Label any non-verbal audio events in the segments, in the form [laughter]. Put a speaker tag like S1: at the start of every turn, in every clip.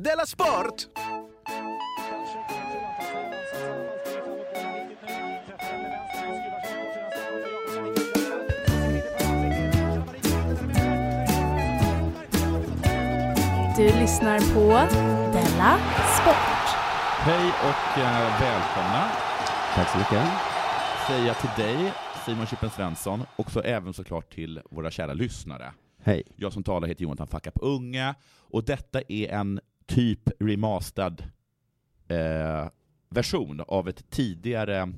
S1: Della Sport!
S2: Du lyssnar på Della Sport.
S3: Hej och eh, välkomna
S4: Tack så mycket.
S3: säger jag till dig, Simon Chippen Svensson, och så även såklart till våra kära lyssnare.
S4: Hej.
S3: Jag som talar heter Jonathan Fuckup Unge, och detta är en typ remastered eh, version av ett tidigare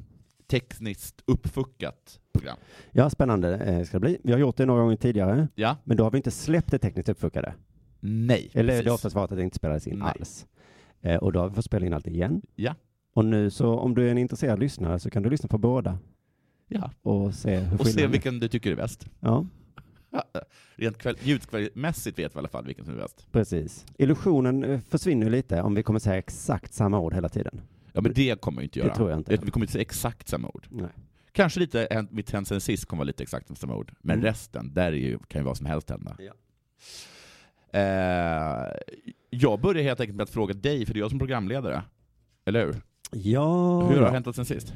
S3: tekniskt uppfuckat program.
S4: Ja, spännande eh, ska det bli. Vi har gjort det några gånger tidigare,
S3: Ja?
S4: men då har vi inte släppt det tekniskt uppfuckade.
S3: Nej.
S4: Eller det
S3: precis.
S4: har oftast varit att det inte spelades in
S3: Nej.
S4: alls. Eh, och då har vi fått spela in allt igen.
S3: Ja.
S4: Och nu så, om du är en intresserad lyssnare så kan du lyssna på båda
S3: Ja.
S4: och se hur
S3: Och se
S4: skillnaden är.
S3: vilken du tycker är bäst.
S4: Ja,
S3: Rent kväll- ljudkvalitetsmässigt vet vi i alla fall vilken som är bäst.
S4: precis. Illusionen eh, försvinner ju lite om vi kommer säga exakt samma ord hela tiden.
S3: Ja, men det kommer vi inte
S4: Det
S3: göra.
S4: tror jag inte.
S3: Vi kommer inte säga exakt samma ord.
S4: Nej.
S3: Kanske lite, eh, mitt hen sen sist kommer vara lite exakt samma ord, men
S4: Mm.
S3: resten, där är ju, kan ju vad som helst hända.
S4: Ja.
S3: Eh, jag börjar helt enkelt med att fråga dig, för det är jag som programledare. Eller hur?
S4: Ja,
S3: hur har
S4: ja.
S3: hänt sen sist?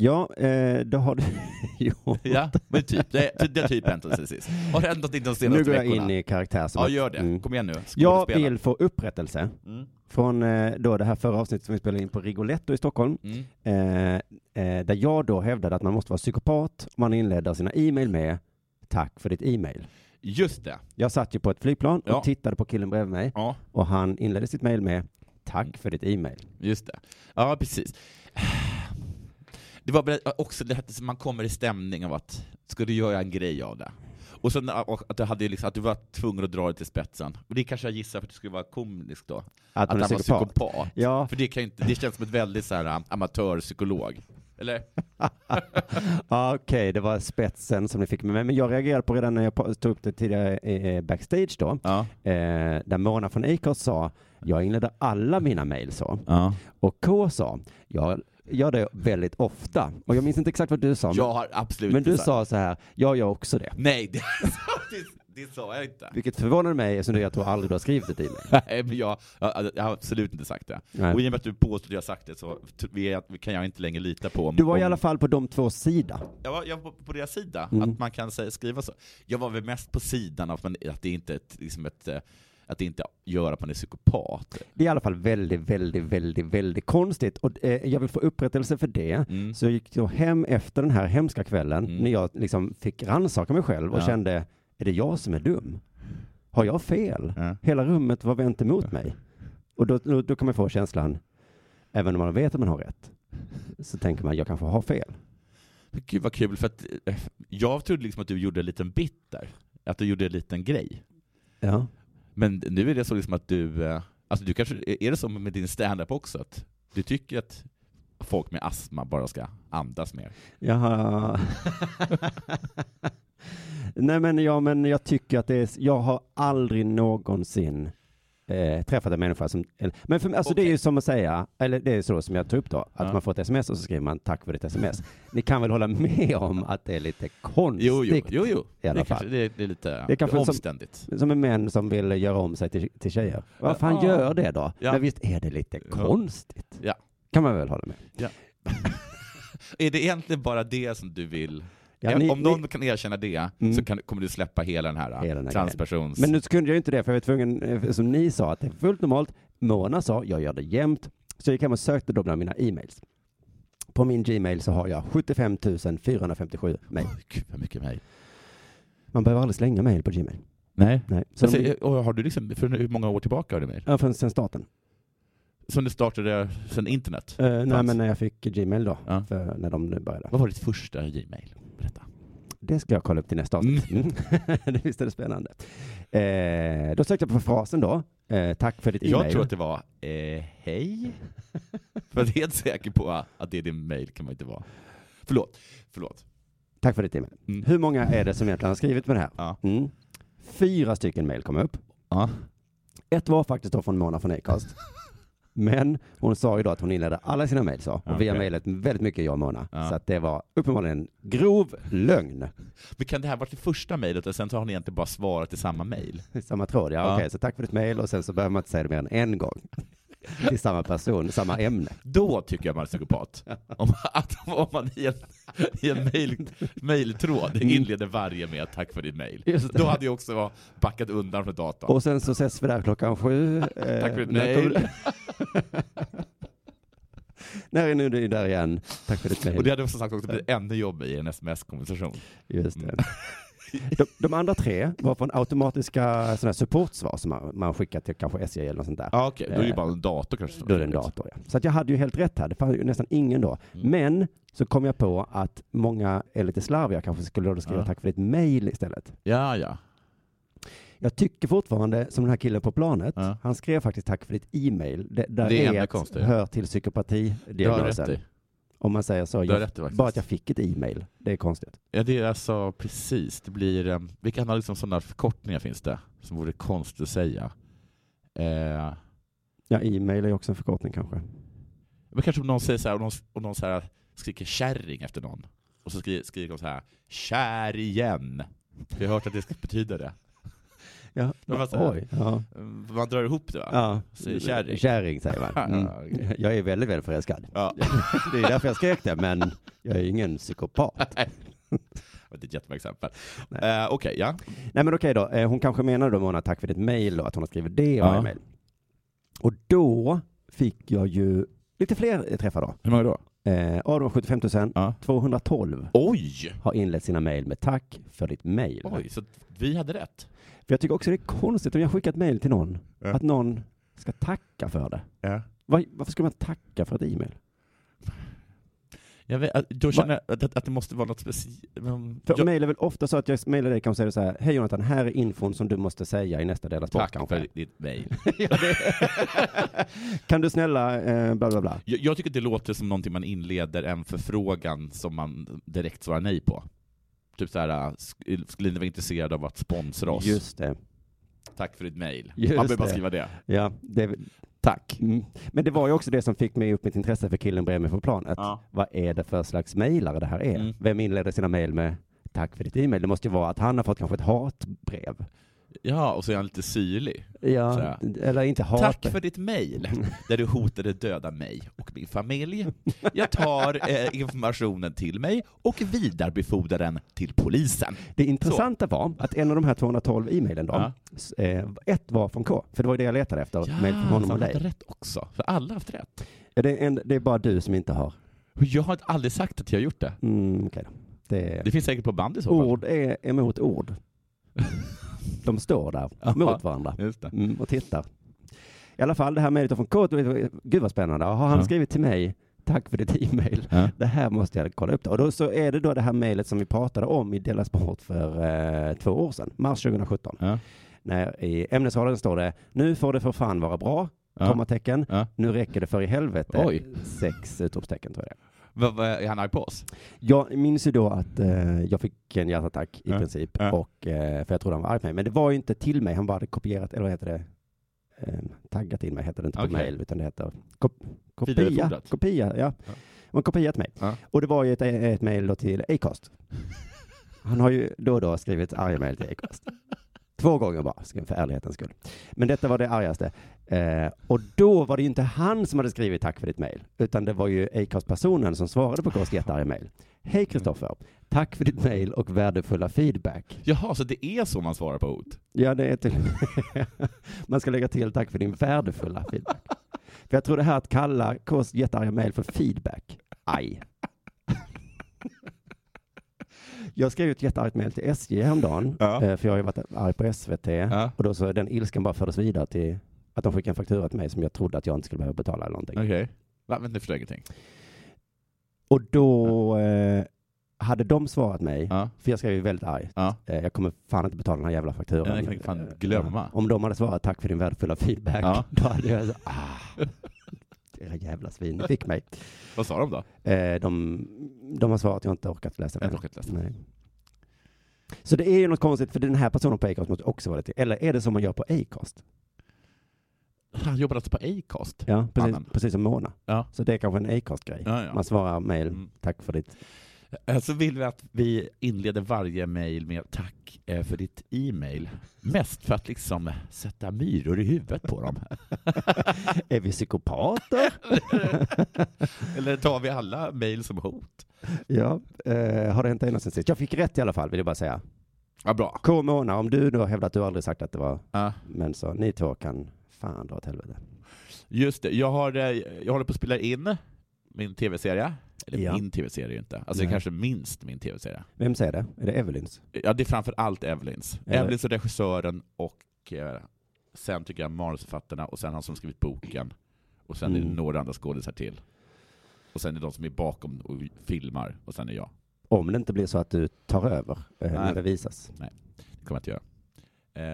S4: ja eh, då har du... [laughs] jo.
S3: Ja, men typ, det, det, det har typ hänt sen sist. Har det hänt någonting de
S4: Nu
S3: senaste
S4: går jag
S3: veckorna?
S4: in i karaktär. som
S3: Ja,
S4: att-
S3: gör det.
S4: Mm.
S3: Kom igen nu.
S4: Jag
S3: Skådespela.
S4: vill få upprättelse
S3: Mm.
S4: från eh, då det här förra avsnittet som vi spelade in på Rigoletto i Stockholm,
S3: Mm.
S4: eh, eh, där jag då hävdade att man måste vara psykopat om man inleder sina e-mail med Tack för ditt e-mail.
S3: Just det.
S4: Jag satt ju på ett flygplan
S3: Ja.
S4: och tittade på killen bredvid mig
S3: Ja,
S4: och han inledde sitt mail med Tack för ditt e-mail.
S3: just det. Ja, precis. Det var väl också det här att man kommer i stämning av att, ska du göra en grej av det? Och sen och att, du hade liksom, att du var tvungen att dra det till spetsen. Och det kanske jag gissar för att det skulle vara komiskt då.
S4: Att,
S3: Att han
S4: man är
S3: var
S4: psykopat.
S3: psykopat.
S4: Ja,
S3: För det, kan ju inte, det känns som ett väldigt så här, um, amatörpsykolog. Eller?
S4: ja, ah, okej, det var spetsen som ni fick med mig. Men jag reagerade på redan när jag po- tog upp det tidigare eh, backstage då,
S3: Ja.
S4: eh, där Mona från Acast sa Jag inleder alla mina mail så.
S3: ja.
S4: Och K sa, jag gör det väldigt ofta. Och jag minns inte exakt vad du sa, men,
S3: Jag har absolut
S4: men du
S3: inte så här-
S4: sa så här, jag gör också det.
S3: Nej, det, [laughs] det, det sa jag inte.
S4: Vilket förvånade mig eftersom du, jag tror aldrig du har skrivit det till mig.
S3: Nej, men jag, jag, jag har absolut inte sagt det.
S4: Nej.
S3: Och i och med att du påstår att jag har sagt det så t- vet- kan jag inte längre lita på om,
S4: Du var i
S3: om-
S4: alla fall på de två sida.
S3: Jag var, jag var på, på deras sida,
S4: Mm.
S3: att man kan säga, skriva så. Jag var väl mest på sidan av att man- att det inte är ett, liksom ett, eh, att det inte gör att man är psykopat. typ.
S4: Det är i alla fall väldigt, väldigt, väldigt, väldigt konstigt. Och eh, jag vill få upprättelse för det.
S3: Mm.
S4: Så jag gick då hem efter den här hemska kvällen
S3: Mm.
S4: när jag liksom fick rannsaka mig själv och
S3: Ja.
S4: kände, är det jag som är dum? Har jag fel?
S3: Ja.
S4: Hela rummet var vänt emot mig. Och då, då, då kan man få känslan, även om man vet att man har rätt, så tänker man, jag kanske har fel.
S3: Gud vad kul, för att eh, jag trodde liksom att du gjorde en liten bit där. Att du gjorde en liten grej.
S4: Ja.
S3: Men nu är det så liksom att du, eh, alltså du kanske, är det så med din standup också? Att du tycker att folk med astma bara ska andas mer? [laughs]
S4: Jag har... Nej men, ja, men jag tycker att det är, jag har aldrig någonsin eh, träffat en människa som, eller- men för, mig- alltså det är ju
S3: Okej.
S4: som att säga, eller det är så som jag tog upp då, att
S3: Ja.
S4: man får ett sms och så skriver man tack för ditt sms. Ni kan väl hålla med om att det är lite konstigt?
S3: Jo, jo, jo, jo.
S4: i alla
S3: det,
S4: fall.
S3: Kanske, det, är, det är lite
S4: Det är kanske som-
S3: omständigt.
S4: Som en män som vill göra om sig till, till tjejer. Vad fan
S3: Ja.
S4: gör det då?
S3: Ja.
S4: Men visst är det lite
S3: Ja.
S4: konstigt?
S3: Ja.
S4: Kan man väl hålla med?
S3: Är det egentligen bara det som du vill?
S4: Ja,
S3: Ä-
S4: ni-
S3: Om
S4: ni-
S3: någon kan erkänna det,
S4: Mm.
S3: så kan, kommer du släppa hela den här,
S4: Hela den här
S3: transpersons...
S4: Men nu kunde jag ju inte det, för jag var tvungen, eh, som ni sa, att det är fullt normalt. Mona sa, jag gör det jämt. Så jag gick hem och sökte då bland mina e-mails. På min Gmail så har jag 75 457 mejl.
S3: Oj, Gud vad mycket mig.
S4: Man behöver aldrig slänga mejl på Gmail.
S3: Nej.
S4: Nej. Så
S3: Alltså,
S4: de,
S3: och har du liksom, för hur många år tillbaka har du mejl?
S4: ja, för sen starten.
S3: Som du startade sen internet?
S4: Eh, nej,
S3: Fanns.
S4: men när jag fick Gmail då,
S3: Ja.
S4: för när de började.
S3: Vad var ditt första Gmail? Berätta.
S4: Det ska jag kolla upp till nästa avsnitt. Mm. [laughs] det visst är det spännande. Eh, då sökte jag på frasen då. Eh, tack för ditt e-mail.
S3: Jag tror att det var eh, hej. [laughs] för jag är helt säker på att det är din mail kan man inte vara. Förlåt. Förlåt.
S4: Tack för ditt e-mail.
S3: Mm.
S4: Hur många är det som egentligen har skrivit med det här?
S3: Ja.
S4: Mm. Fyra stycken mejl kom upp.
S3: Ja. [laughs]
S4: Ett var faktiskt då från Mona från Acast. Men hon sa ju då att hon inledde alla sina mejl så. Och
S3: Ja,
S4: vi har
S3: okej.
S4: mejlat väldigt mycket jag och Mona.
S3: Ja.
S4: Så att det var uppenbarligen en grov lögn. [laughs]
S3: Men kan det här varit det första mejlet och sen så har ni egentligen bara svarat i samma mejl?
S4: Samma tråd, ja.
S3: Ja.
S4: Okej, så tack för ditt mejl och sen så behöver man inte säga det mer än
S3: [laughs]
S4: en gång. Till samma person, samma ämne.
S3: Då tycker jag man är
S4: [laughs]
S3: psykopat. Om, att, om man i en, i en mail, mailtråd inleder varje med ”Tack för ditt mejl”.
S4: Mm. Just det.
S3: Då hade jag också backat undan från datorn.
S4: Och sen så ses vi där klockan sju. Eh, Tack
S3: [laughs] Tack för ditt mejl.
S4: [laughs] Nej, nu är du där igen. Tack för ditt
S3: Och det
S4: mejl.
S3: hade som sagt också blivit ännu jobbigare i en sms-konversation.
S4: Just
S3: Mm.
S4: det. [laughs] De, de andra tre var från automatiska sådana här supportsvar som man, man skickar till kanske SJ eller något sånt där.
S3: Ja, okej. Då är det ju bara en dator kanske.
S4: Eh, Då är det en dator, ja. Så att jag hade ju helt rätt här. Det fanns ju nästan ingen då.
S3: Mm.
S4: Men så kom jag på att många är lite slarviga kanske skulle då skriva
S3: Ja.
S4: tack för ditt mejl istället.
S3: Ja, ja.
S4: Jag tycker fortfarande, som den här killen på planet,
S3: Ja.
S4: han skrev faktiskt tack för ditt e-mail. Det, där
S3: Det är
S4: det
S3: enda
S4: är ett
S3: konstiga.
S4: hör till
S3: Du har rätt
S4: psykopatidiagnosen.
S3: i.
S4: Om man säger så.
S3: Du har
S4: Jag,
S3: rätt i faktiskt.
S4: bara att jag fick ett e-mail, det är konstigt.
S3: Ja, det är alltså precis. Det blir, um, vilka andra liksom sådana förkortningar finns det som vore konstigt att säga? Eh,
S4: Ja, e-mail är ju också en förkortning kanske.
S3: men kanske om någon säger så här, om någon, om någon så här skriker kärring efter någon, och så skriker, skriker de så här kär igen. Vi har hört att det ska betyda det.
S4: Ja,
S3: Det var så här.
S4: oj. Ja.
S3: Mm, Man drar ihop det va?
S4: Ja.
S3: Säger kärring.
S4: Kärring säger
S3: [laughs]
S4: man. Mm. Jag är väldigt, väldigt förälskad.
S3: Ja.
S4: Det är därför jag skrek det, men jag är ingen psykopat.
S3: Det är ett jättebra exempel.
S4: Nej.
S3: Eh, Okej, ja.
S4: Nej men okej då, Eh, hon kanske menar då Mona, tack för ditt mejl då, att hon har skrivit det i varje
S3: Ja.
S4: mejl. Och då fick jag ju lite fler eh, träffar då.
S3: Hur många då?
S4: Eh, Adam 75 000,
S3: Ja.
S4: 212
S3: Oj!
S4: har inlett sina mejl med tack för ditt mejl.
S3: Oj, så vi hade rätt.
S4: För jag tycker också det är konstigt om jag skickat mejl till någon,
S3: Ja.
S4: att någon ska tacka för det.
S3: Ja.
S4: Var, varför ska man tacka för ett e-mail?
S3: Jag vet, att- då känner jag att, att det måste vara något speciellt.
S4: För mejl är väl ofta så att jag mejlar dig kan säga så här, hej Jonathan, här är infon som du måste säga i nästa del av sport
S3: Tack
S4: kanske.
S3: för ditt mejl.
S4: [laughs] Ja, det- [laughs] kan du snälla, eh, bla bla bla.
S3: Jag, jag tycker det låter som någonting man inleder en förfrågan som man direkt svarar nej på. Typ såhär, äh, sk- skulle ni vara intresserade av att sponsra oss?
S4: Just det.
S3: Tack för ditt mejl. Man
S4: Just
S3: behöver bara
S4: det.
S3: skriva det.
S4: Ja, det,
S3: Tack.
S4: mm. Men det var ju också det som fick mig upp mitt intresse för killen bredvid mig på planet.
S3: Ja.
S4: Vad är det för slags mejlare det här är?
S3: Mm.
S4: Vem inleder sina mejl med tack för ditt e-mail? Det måste ju vara att han har fått kanske ett hatbrev.
S3: ja, och så är han lite syrlig. Så
S4: Ja,
S3: här.
S4: eller inte hat.
S3: Tack för ditt mejl,
S4: [laughs]
S3: där du hotade döda mig och min familj. Jag tar eh, informationen till mig och vidarebefordrar den till polisen.
S4: Det intressanta var att en av de här 212 e-mailen då,
S3: Ja.
S4: s- eh, ett var från K, för det var ju det jag letade efter, mejl från
S3: så
S4: honom och
S3: han hade
S4: dig.
S3: rätt också. För alla har haft rätt.
S4: Är Det, en, det är bara du som inte har.
S3: Jag har aldrig sagt att jag har gjort det.
S4: Mm, okej då. Det,
S3: Det finns säkert på band i så fall.
S4: ord är
S3: [laughs]
S4: emot ord. De står där
S3: Ja.
S4: mot varandra.
S3: Just det.
S4: Mm, och tittar. I alla fall, det här mejlet från Kurt, gud vad spännande. Har han
S3: Ja.
S4: skrivit till mig, tack för ditt e-mail.
S3: Ja.
S4: Det här måste jag kolla upp då. Och då så är det då det här mejlet som vi pratade om i Della Sport för eh, två år sedan, mars 2017.
S3: Ja.
S4: När I ämnesraden står det, nu får det för fan vara bra,
S3: Ja.
S4: kommatecken,
S3: Ja.
S4: nu räcker det för i helvete,
S3: Oj.
S4: sex utropstecken tror jag det är.
S3: Vad- vad- Är han arg på oss?
S4: Jag minns ju då att eh, jag fick en hjärtattack i
S3: Ja.
S4: princip,
S3: Ja.
S4: Och, eh, för jag trodde han var arg på mig. Men det var ju inte till mig, han bara hade kopierat, eller vad heter det, eh, taggat in mig, heter det inte på
S3: Okej.
S4: mail, utan det heter kop- kopia.
S3: Vidarefordrat.
S4: kopia ja.
S3: Ja.
S4: Man kopierat mig.
S3: Ja.
S4: Och det var ju ett, ett mail då till Acast. Han har ju då och då skrivit arga mail till Acast. Två gånger bara, ska- för ärlighetens skull. Men detta var det argaste. Eh, och då var det ju inte han som hade skrivit tack för ditt mejl, utan det var ju Acast-personen som svarade på Kors jättearga mejl. Hej Kristoffer, tack för ditt mejl och värdefulla feedback.
S3: Jaha, så det är så man svarar på hot?
S4: Ja, det är till... [laughs] Man ska lägga till tack för din värdefulla feedback. För jag tror det här att kalla Kors jättearga mejl för feedback, aj. Jag skrev ju ett jätteargt mejl till SJ häromdagen,
S3: Ja.
S4: eh, för jag har ju varit arg på SVT.
S3: Ja.
S4: Och då så den ilskan bara fördes vidare till att de skickade en faktura till mig som jag trodde att jag inte skulle behöva betala eller någonting.
S3: Okej. Va, men nu förstår jag ingenting.
S4: Och då eh, hade de svarat mig,
S3: Ja.
S4: för jag skrev ju väldigt arg.
S3: Ja.
S4: Eh, jag kommer fan inte betala den här jävla fakturan.
S3: Ja, jag kan fan
S4: Eh,
S3: glömma.
S4: Om de hade svarat tack för din värdefulla feedback,
S3: Ja.
S4: [laughs] då hade jag så, ah, era jävla svin, ni fick mig.
S3: Vad sa de då?
S4: Eh, de, de har svarat, jag har inte orkat läsa
S3: Jag har
S4: den.
S3: inte orkat läsa.
S4: Nej. Så det är ju något konstigt, för den här personen på Acast måste också vara det till. Eller är det som man gör på Acast?
S3: Han jobbar alltså på Acast?
S4: Ja, precis,
S3: Amen.
S4: precis som Mona.
S3: Ja.
S4: Så det är kanske en Acast-grej.
S3: Ja, ja.
S4: Man svarar mail.
S3: Mm.
S4: Tack för ditt...
S3: Eh, Så vill vi att vi inleder varje mejl med tack eh, för ditt e-mail. Mest för att liksom sätta myror i huvudet på dem.
S4: Är vi psykopater?
S3: [laughs] Eller tar vi alla mejl som hot?
S4: ja. Eh, har det hänt dig något sen sist? Jag fick rätt i alla fall, vill jag bara säga.
S3: Ja, bra.
S4: K. Mona, om du då hävdar att du aldrig sagt att det var
S3: Ja.
S4: män så ni två kan fan dra åt helvete.
S3: Just det, jag, har, eh, jag håller på att spela in min tv-serie. Eller
S4: Ja.
S3: min tv-serie är ju inte. Alltså det
S4: Nej.
S3: är kanske minst min tv-serie.
S4: Vem säger det? Är det Evelyns?
S3: Ja, det är framför allt Evelyns.
S4: Eller-
S3: Evelyns är regissören och eh, sen tycker jag manusförfattarna och sen han som skrivit boken. Och sen är det
S4: Mm.
S3: några andra skådisar till. Och sen är det de som är bakom och filmar och sen är jag.
S4: Om det inte blir så att du tar över eh, när
S3: Nej.
S4: det visas.
S3: Det kommer jag inte göra.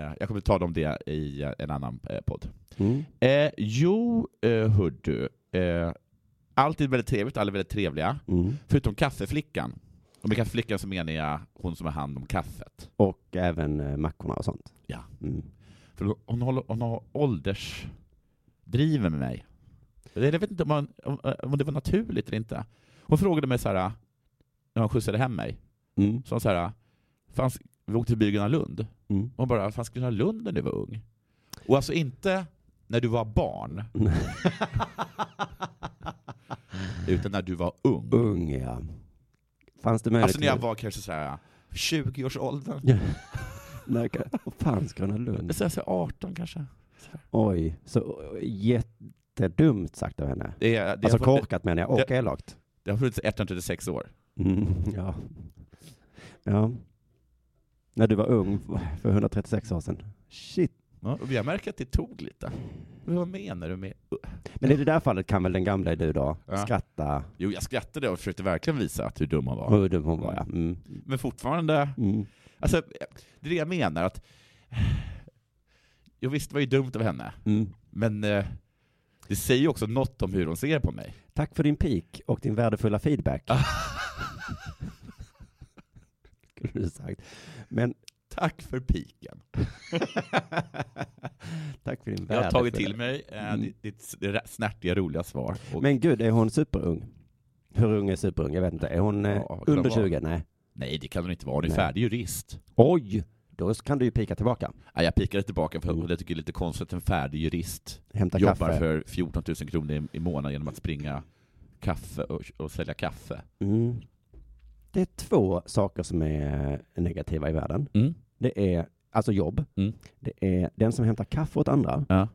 S3: Eh, jag kommer ta dem det i eh, en annan eh, podd.
S4: Mm.
S3: Eh, jo, eh, hördu. Eh, allt är väldigt trevligt, alla är väldigt trevliga.
S4: Mm.
S3: Förutom kaffeflickan. Och med kaffeflickan så menar jag hon som har hand om kaffet.
S4: Och även eh, mackorna och sånt.
S3: Ja.
S4: Mm.
S3: För hon, håller, hon har åldersdriven med mig. Jag vet inte om, man, om, eh, om det var naturligt eller inte. Hon frågade mig så här när hon skjutsade hem mig,
S4: Mm.
S3: så hon så här, fanns, vi åkte förbi Gröna Lund, och
S4: Mm.
S3: hon bara, fanns Gröna Lund när du var ung? Och alltså inte när du var barn, utan när du var ung.
S4: Ung, ja. Fanns det möjlighet?
S3: Alltså när jag var kanske så här 20-årsåldern,
S4: Nej, okej. Åh, fan, Gröna Lund.
S3: så här, så här 18 kanske. Så här.
S4: Oj, så eh, jättedumt sagt av henne.
S3: Det, är- det,
S4: Alltså
S3: har, funnits-
S4: korkat menar jag, och elakt.
S3: det har funnits 136 år.
S4: Mm. [laughs] Ja. ja. När du var ung, [laughs] för 136 år sedan. Shit.
S3: Ja, och jag märker att det tog lite. Men vad menar du med...
S4: Men i det där fallet kan väl den gamla du då
S3: Ja.
S4: skratta
S3: Jo, jag skrattade och försökte verkligen visa att hur dum man var.
S4: hur dum hon var ja. Mm.
S3: Men fortfarande,
S4: Mm.
S3: alltså, det är det jag menar att... Jo visst, det var ju dumt av henne,
S4: Mm.
S3: men eh, det säger ju också något om hur hon ser på mig.
S4: Tack för din pik och din
S3: [laughs]
S4: värdefulla feedback. Skulle
S3: [laughs]
S4: du sagt. Men
S3: Tack för piken.
S4: tack för din
S3: Jag har
S4: värdefulla...
S3: tagit till mig eh,
S4: Mm.
S3: ditt, ditt ra- snärtiga, roliga svar. Och,
S4: Men gud, är hon superung? Hur ung är superung? Jag vet inte. Är hon eh,
S3: Ja, vad kan
S4: under
S3: hon vara?
S4: 20? Nej.
S3: Nej, det kan hon inte vara. Hon är
S4: Nej.
S3: färdig jurist.
S4: Oj! Då kan du ju pika tillbaka.
S3: Ja, jag pikade tillbaka för
S4: Mm.
S3: jag tycker det är lite konstigt att en färdig jurist
S4: Hämta
S3: jobbar
S4: kaffe.
S3: för 14 000 kronor i- i månaden genom att springa kaffe och, och sälja kaffe.
S4: Mm. Det är två saker som är negativa i världen. Det är alltså jobb.
S3: Mm.
S4: Det är den som hämtar kaffe åt andra.
S3: Ja.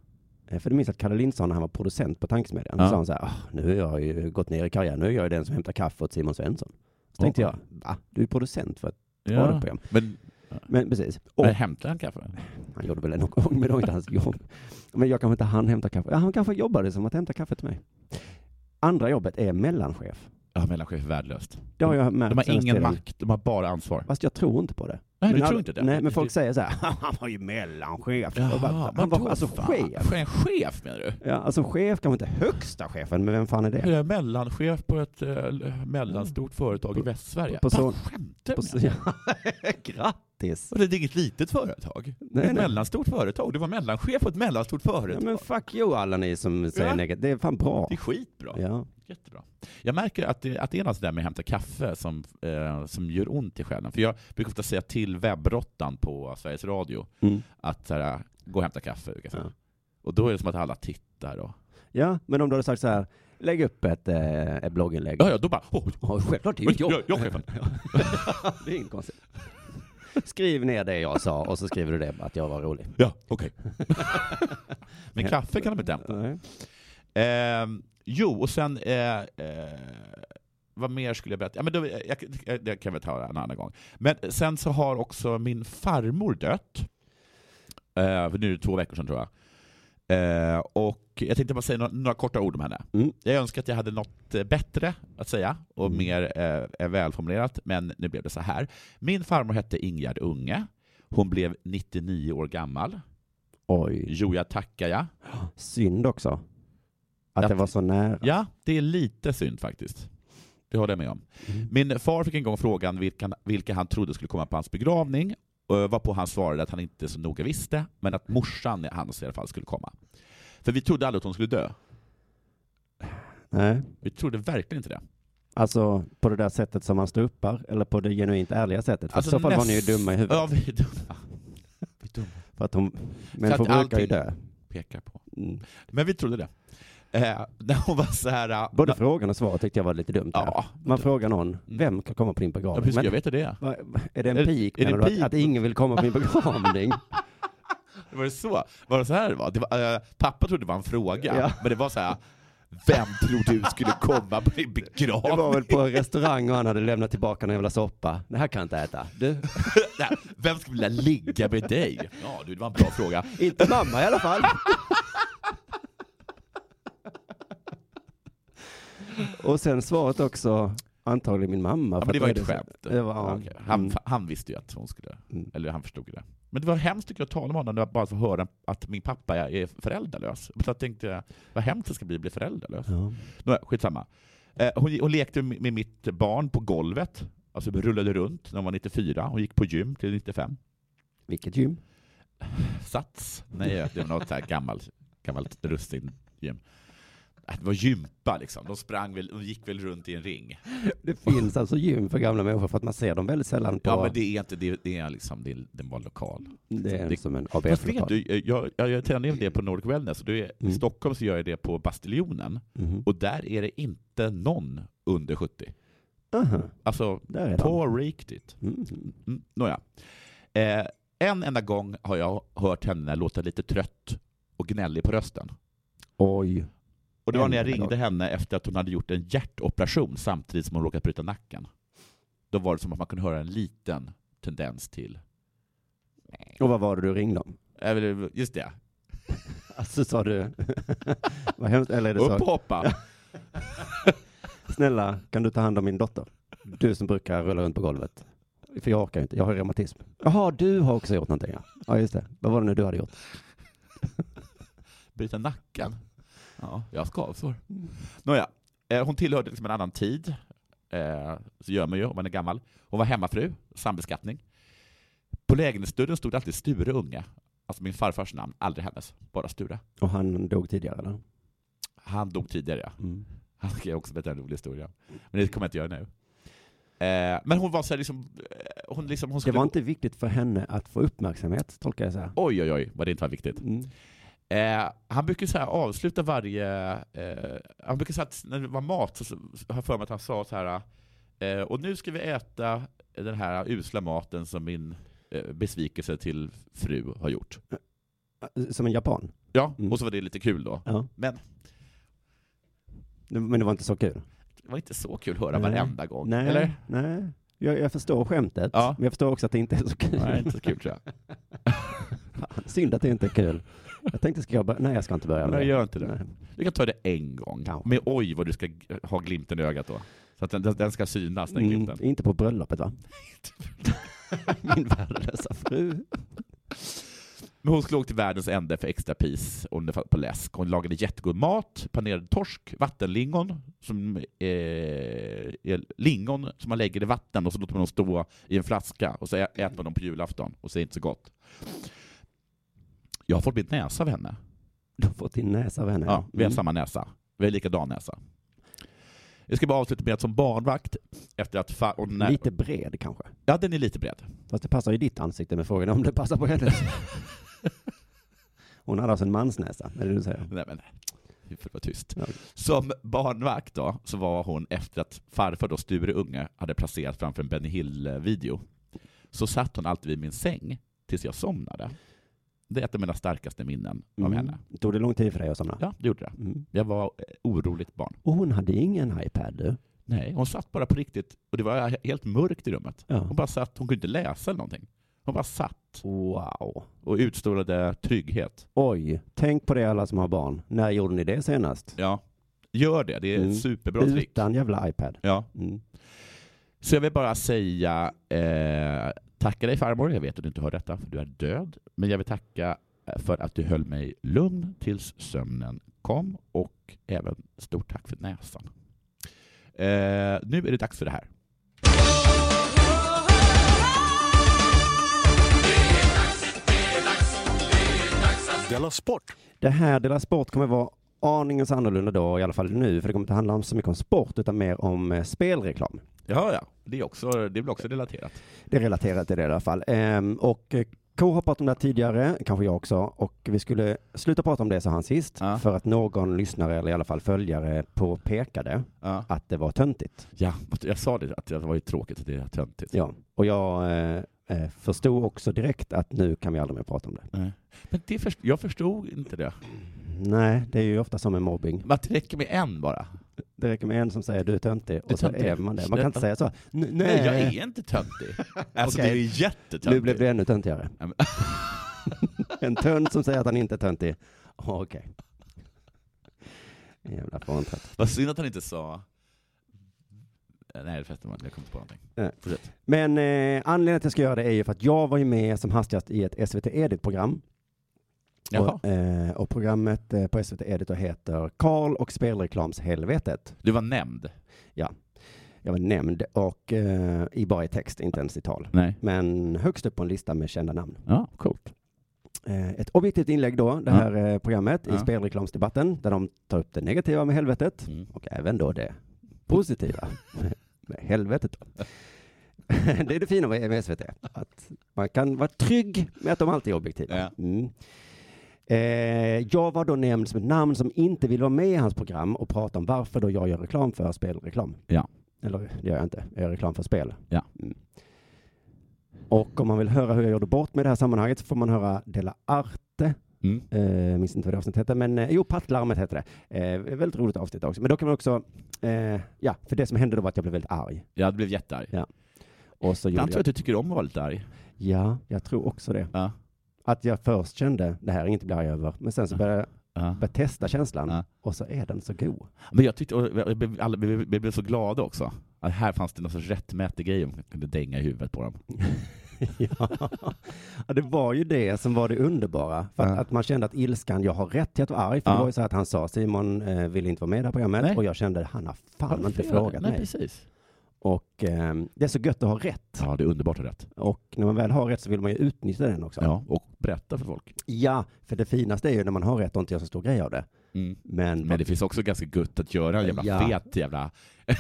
S4: Eh, För du minns att Kalle Lind sa när han var producent på Tankesmedjan,
S3: Ja.
S4: så sa han så här, "Ah, nu har jag ju gått ner i karriär, nu är jag ju den som hämtar kaffe åt Simon Svensson. Så tänkte jag, va? Du är producent för ett radioprogram.
S3: Men,
S4: Men precis, och
S3: men hämtar han kaffe?
S4: han gjorde väl det någon gång, men det var
S3: [laughs]
S4: inte hans jobb. Men jag kanske inte han hämtar kaffe. Ja, han kanske jobbade som att hämta kaffe till mig. Andra jobbet är mellanchef.
S3: Ja, mellanchef är värdelöst.
S4: Det har jag märkt
S3: Mm. De har
S4: senaste
S3: ingen
S4: tiden.
S3: makt, de har bara ansvar.
S4: Fast jag tror inte på det.
S3: Nej, du
S4: all-
S3: tror inte det?
S4: Nej, men
S3: Du-
S4: folk säger så här, [laughs] han var ju mellanchef.
S3: Jaha,
S4: Jag bara, han
S3: vadå,
S4: var alltså
S3: fan?
S4: chef.
S3: En chef menar du?
S4: Ja, alltså chef kanske inte högsta chefen, men vem fan är det?
S3: Jag är mellanchef på ett eh, mellanstort företag i Västsverige.
S4: på- på
S3: Vad
S4: så-
S3: skämtar
S4: På-
S3: du med?
S4: [laughs] ja, Grattis!
S3: Och Det är inget litet företag. Det är
S4: Nej,
S3: ett
S4: nej.
S3: mellanstort företag. Du var mellanchef på ett mellanstort
S4: Ja,
S3: företag.
S4: men fuck you alla ni som säger
S3: Ja.
S4: negativt. Det är fan bra.
S3: Det är skitbra.
S4: Ja.
S3: Jättebra. Jag märker att det, att det är något där med att hämta kaffe som, eh, som gör ont i själen. För jag brukar ofta säga till webbrottan på Sveriges Radio
S4: Mm.
S3: att så här, gå och hämta kaffe. brukar jag säga.
S4: Ja.
S3: Och då är det som att alla tittar. Och...
S4: ja, men om du hade sagt så här, lägg upp ett, eh, ett blogginlägg.
S3: Ja, ja, då bara oh,
S4: Ja, självklart, det är ju
S3: Oj,
S4: ett jobb.
S3: jag- jag är chefen.
S4: Ja, det är inget konstigt. Skriv ner det jag sa och så skriver du det, att jag var rolig.
S3: ja, okej. Men kaffe kan de inte hämta.
S4: Nej.
S3: Eh, jo, och sen... Eh, eh, vad mer skulle jag berätta? Ja, men då, eh, jag, jag, det kan vi ta en annan gång. Men sen så har också min farmor dött. Eh, för nu är det två veckor sedan tror jag. Eh, och jag tänkte bara säga några, några korta ord om henne.
S4: Mm.
S3: Jag önskar att jag hade något eh, bättre att säga och
S4: Mm.
S3: mer eh, välformulerat, men nu blev det så här. Min farmor hette Ingegerd Unge. Hon blev 99 år gammal.
S4: Oj,
S3: Jo, jag tackar jag.
S4: synd också. Att
S3: Att-
S4: det var så nära.
S3: Ja, det är lite synd faktiskt. Det håller jag med om. Min far fick en gång frågan vilka, vilka han trodde skulle komma på hans begravning, eh, varpå han svarade att han inte så noga visste, men att morsan i hans i alla fall skulle komma. För vi trodde aldrig att hon skulle dö.
S4: Nej.
S3: Vi trodde verkligen inte det.
S4: Alltså på det där sättet som man ståuppar eller på det genuint ärliga sättet. För i så fall var ni ju
S3: Alltså, näst-
S4: dumma i huvudet.
S3: Ja, vi är dumma. Vi är dumma.
S4: För att hon, människor
S3: att
S4: brukar ju
S3: allting-
S4: dö.
S3: Pekar på.
S4: Mm.
S3: Men vi trodde det. Eh, när hon var så här... eh,
S4: Både
S3: na-
S4: frågan och svaret tyckte jag var lite dumt. där.
S3: Ja,
S4: Man frågar någon, vem kan komma på din
S3: ja,
S4: begravning?
S3: hur ska jag
S4: Men,
S3: veta det?
S4: va- va- är det en
S3: Är-
S4: pik?
S3: är det
S4: menar du?
S3: pik?
S4: Att, att ingen vill komma på
S3: [laughs]
S4: min begravning?
S3: Var det så? Var det så här det var? Det var eh, pappa trodde det var en fråga,
S4: Ja.
S3: men det var så här... Vem tror du skulle komma på din
S4: Det var
S3: begravning?
S4: väl på en restaurang och han hade lämnat tillbaka en jävla soppa. Det här kan jag inte äta. Du,
S3: Nej, Vem skulle vilja ligga med dig? Ja, du, det var en bra fråga.
S4: inte mamma i alla fall. och sen svaret också, antagligen min mamma.
S3: Ja,
S4: för
S3: men det
S4: att
S3: var ju
S4: då är
S3: ett
S4: så-
S3: skämt.
S4: Det var, ja.
S3: Okej. han,
S4: Mm.
S3: han visste ju att hon skulle,
S4: Mm.
S3: eller han förstod ju det. Men det var hemskt tycker jag att tala med honom, när jag bara få höra att min pappa är föräldralös. Så jag tänkte, vad hemskt det ska bli att bli föräldralös.
S4: Ja.
S3: Nåja, skitsamma. Eh, Hon, hon lekte med med mitt barn på golvet, alltså rullade runt när hon var 94. Hon gick på gym till 95.
S4: Vilket gym?
S3: Sats? Nej, det var något så här gammalt, gammalt russin gym. Äh, Det var gympa liksom. De sprang väl, de gick väl runt i en ring.
S4: Det finns alltså gym för gamla människor för att man ser dem väldigt sällan på...
S3: Ja, men det är inte, det det är liksom, det är, den var lokal.
S4: det är
S3: det-
S4: som en
S3: Fast vet
S4: ABF-lokal.
S3: du, jag, jag, jag tränar ju det på Nordic Wellness, och det är,
S4: Mm.
S3: i Stockholm så gör jag det på Bastiljonen,
S4: Mhm.
S3: och där är det inte någon under 70.
S4: Aha,
S3: Alltså,
S4: där är de.
S3: på riktigt.
S4: Mhm.
S3: Mm, nåja. Eh, en enda gång har jag hört henne låta lite trött och gnällig på rösten.
S4: Oj.
S3: Och det var
S4: En
S3: när jag
S4: enda
S3: ringde henne efter att hon hade gjort en hjärtoperation samtidigt som hon råkat bryta nacken. Då var det som att man kunde höra en liten tendens till...
S4: Och vad var det du ringde om?
S3: Eh, väl, Just det,
S4: Alltså sa du... [laughs] vad hemskt, eller är det
S3: upp
S4: så?
S3: och hoppa!
S4: Snälla, kan du ta hand om min dotter? Du som brukar rulla runt på golvet. För jag orkar inte, jag har reumatism. Jaha, du har också gjort någonting ja. Ja, just det. Vad var det nu du hade gjort?
S3: Bryta nacken? Ja, jag har skavsår. Nåja, eh, hon tillhörde liksom en annan tid. Eh, Så gör man ju om man är gammal. Hon var hemmafru, sambeskattning. På lägenhetsdörren stod det alltid Sture Unge. Alltså min farfars namn, aldrig hennes. Bara Sture.
S4: Och han dog tidigare eller?
S3: Han dog tidigare, ja.
S4: Mm.
S3: Han ska jag också berätta en rolig historia. Men det kommer jag inte göra nu. Eh, Men hon var så här liksom... eh, Hon liksom hon
S4: Det
S3: skulle...
S4: var inte viktigt för henne att få uppmärksamhet, tolkar jag så här.
S3: Oj, oj, oj, vad det inte var viktigt.
S4: Mm.
S3: Eh, han brukar så här avsluta varje... Eh, han brukar så här, att när det var mat så, så har jag för mig att han sa så här eh, Och nu ska vi äta den här usla maten som min eh, besvikelse till fru har gjort.
S4: Mm. Som en japan.
S3: Ja,
S4: Mm.
S3: och så var det lite kul då.
S4: Ja.
S3: Men
S4: Det- Men det var inte så kul?
S3: det var inte så kul att höra
S4: Nej.
S3: varenda gång.
S4: Nej,
S3: Eller?
S4: nej. Jag, jag förstår skämtet,
S3: Ja.
S4: men jag förstår också att det inte är så kul.
S3: Nej, inte så kul tror jag.
S4: [laughs] Synd att det inte är kul. Jag tänkte, ska jag börja? Nej, jag ska inte börja med
S3: Nej,
S4: det.
S3: gör inte det.
S4: Nej.
S3: Du kan ta det en gång.
S4: Kanske.
S3: Men oj vad du ska g- ha glimten i ögat då. Så att den, den- den ska synas, den
S4: Mm,
S3: glimten. [laughs]
S4: inte på bröllopet va? [laughs] Min värdelösa fru.
S3: Men hon slog till världens ände för extra pris och det fanns på läsk. Hon lagade jättegod mat, panerad torsk, vattenlingon, som eh, är lingon som man lägger i vatten och så låter man dem stå i en flaska och så ä- äter man dem på julafton och så är det inte så gott. Jag har fått min näsa av henne.
S4: Du har fått din näsa av henne.
S3: Ja, vi har
S4: Mm.
S3: samma näsa. Vi har likadan näsa. Jag ska bara avsluta med att som barnvakt, efter att... Fa- och när-
S4: Lite bred kanske.
S3: Ja, den är lite bred.
S4: Fast det passar i ditt ansikte med frågan om det passar
S3: [laughs]
S4: på hennes. Hon hade alltså en mansnäsa, är det du säger?
S3: Nej, men vi får vara tyst.
S4: Ja.
S3: Som barnvakt då, så var hon efter att farfar då, Sture Unge, hade placerat framför en Benny Hill-video, så satt hon alltid vid min säng tills jag somnade. Det är ett av mina starkaste minnen
S4: Mm.
S3: av henne.
S4: Tog det lång tid för dig att somna?
S3: Ja, det gjorde det.
S4: Mm.
S3: Jag var eh, oroligt barn.
S4: Och hon hade ingen iPad du?
S3: Nej, hon satt bara på riktigt, och det var he- helt mörkt i rummet.
S4: Ja.
S3: Hon bara satt, hon kunde inte läsa eller någonting. Hon bara satt
S4: Wow.
S3: och utstrålade trygghet.
S4: Oj, tänk på det alla som har barn. När gjorde ni det senast?
S3: Ja, gör det. Det är
S4: Mm.
S3: ett superbra trick.
S4: Utan jävla iPad.
S3: Ja.
S4: Mm.
S3: Så jag vill bara säga eh, tacka dig farmor, jag vet att du inte hör detta för du är död, men jag vill tacka eh, för att du höll mig lugn tills sömnen kom och även stort tack för näsan. Eh, nu är det dags för det här.
S1: Della Sport!
S4: Det här Dela Sport kommer vara aningens annorlunda då, i alla fall nu, för det kommer inte handla om så mycket om sport utan mer om eh, spelreklam.
S3: Ja, ja. Det, är också, det blir också relaterat.
S4: Det är relaterat till det i alla fall. Ehm, och eh, K har pratat om det här tidigare, kanske jag också, och vi skulle sluta prata om det, sa han sist,
S3: Ja.
S4: för att någon lyssnare eller i alla fall följare påpekade
S3: Ja.
S4: att det var töntigt.
S3: ja, jag sa det, att det var ju tråkigt att det är töntigt.
S4: Ja. Och jag eh, eh, förstod också direkt att nu kan vi aldrig mer prata om det.
S3: Nej. Men det först, jag förstod inte det.
S4: Nej, det är ju ofta som med mobbing.
S3: Men att det räcker med en bara.
S4: Det räcker med en som säger du är töntig
S3: Du är
S4: och så
S3: töntig.
S4: är man det. Man kan inte säga så. "N- Nej,
S3: Nej, jag är inte [laughs] töntig. Alltså
S4: Okej.
S3: det är ju jättetöntigt.
S4: Nu blev du ännu töntigare.
S3: Ja, men-
S4: [laughs] en tönt som säger att han inte är töntig. Ja, Okej. Jävla fåntrött.
S3: [laughs] Vad synd att han inte sa... Nej, förresten, jag kom inte på någonting.
S4: Nej.
S3: Fortsätt.
S4: Men eh, anledningen till att jag ska göra det är ju för att jag var ju med som hastigast i ett SVT Edit-program.
S3: Jaha.
S4: Och, eh, och programmet eh, på SVT Edit då heter Karl och spelreklamshelvetet.
S3: Du var nämnd.
S4: Jag var nämnd och eh, i bara i text, inte ens i tal.
S3: Nej.
S4: Men högst upp på en lista med kända namn.
S3: Ja, coolt.
S4: Eh, Ett objektivt inlägg då, det
S3: Ja.
S4: här eh, programmet i
S3: Ja.
S4: spelreklamsdebatten, där de tar upp det negativa med helvetet
S3: Mm.
S4: och även då det
S3: [laughs]
S4: positiva med- med helvetet. Då. [laughs] det är det fina med med SVT, att man kan vara trygg med att de alltid är objektiva.
S3: Ja.
S4: Mm. Eh, jag var då nämnd som ett namn som inte vill vara med i hans program och prata om varför då jag gör reklam för spelreklam.
S3: Ja.
S4: Eller det gör jag inte, jag gör reklam för spel.
S3: Ja.
S4: Mm. Och om man vill höra hur jag gjorde bort med det här sammanhanget så får man höra Dela Arte
S3: Mm.
S4: Eh, minns inte vad det avsnittet hette, men eh, jo, Pattlarmet hette det. Eh, väldigt roligt avsnitt också. Men då kan man också, eh, ja, för det som hände då var att jag blev väldigt arg.
S3: Jag blev jättearg.
S4: Och så
S3: Ibland
S4: gjorde
S3: tror jag
S4: jag,
S3: att du tycker om att vara lite arg.
S4: ja, jag tror också det.
S3: Ja.
S4: Att jag först kände, det här är inget att bli arg över, men sen så började jag
S3: Ja.
S4: började testa känslan
S3: Ja.
S4: och så är den så god. [laughs]
S3: Men jag tyckte, och jag blev- alla- vi vi blev så glada också. Att här fanns det någon sorts rättmätig grej om jag kunde dänga i huvudet på dem.
S4: ja. Ja, det var ju det som var det underbara. För att,
S3: Ja.
S4: att man kände att ilskan, jag har rätt till att vara arg, för det
S3: Ja.
S4: var ju så att han sa, Simon eh, vill inte vara med i det här programmet,
S3: Nej.
S4: och jag kände, han har fan inte
S3: Varför?
S4: frågat
S3: Nej,
S4: mig.
S3: precis.
S4: Och ehm, det är så gött att ha rätt.
S3: Ja, det är underbart och rätt.
S4: Och när man väl har rätt så vill man ju utnyttja den också.
S3: Ja, och berätta för folk.
S4: Ja, för det finaste är ju när man har rätt och inte gör så stor grej av det.
S3: Mm.
S4: Men,
S3: Men det finns också ganska gött att göra en jävla
S4: Ja.
S3: fet jävla, [laughs]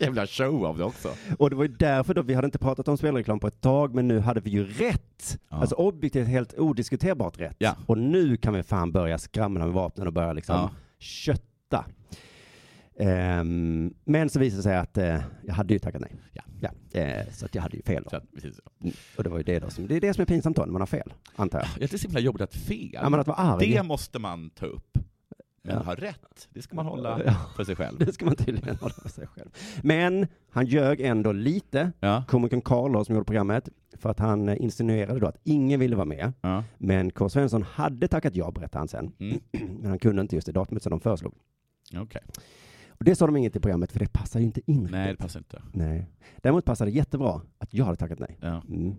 S3: jävla show av det också.
S4: Och det var ju därför då, vi hade inte pratat om spelreklam på ett tag, men nu hade vi ju rätt.
S3: Ja.
S4: Alltså objektivt helt odiskuterbart rätt.
S3: Ja.
S4: Och nu kan vi fan börja skramla med vapnen och börja liksom
S3: Ja.
S4: kötta. Ehm, men så visade det sig att eh, jag hade ju tackat nej.
S3: Ja.
S4: Eh, så att jag hade ju fel
S3: Så
S4: då.
S3: att, precis.
S4: Och det var ju det då som, det är det som är pinsamt då, när man har fel, antar jag.
S3: Jag tycker det är så himla jobbigt att fel.
S4: Ja, men att vara arg.
S3: det måste man ta upp. Men
S4: Ja.
S3: ha rätt, det ska man hålla
S4: Ja.
S3: för sig själv.
S4: [laughs] Det ska man tydligen hålla för sig själv. Men han ljög ändå lite,
S3: Ja.
S4: komikern Karl då, som gjorde programmet, för att han eh, insinuerade då att ingen ville vara med.
S3: Ja.
S4: Men K. Svensson hade tackat ja, berättade han sen.
S3: Mm.
S4: [clears throat] Men han kunde inte just det datumet som de föreslog.
S3: Okej.
S4: [laughs] Och det sa de inget i programmet, för det passar ju inte in.
S3: Nej, det passar inte.
S4: Nej. Däremot passade det jättebra att jag hade tackat nej.
S3: Ja.
S4: Mm.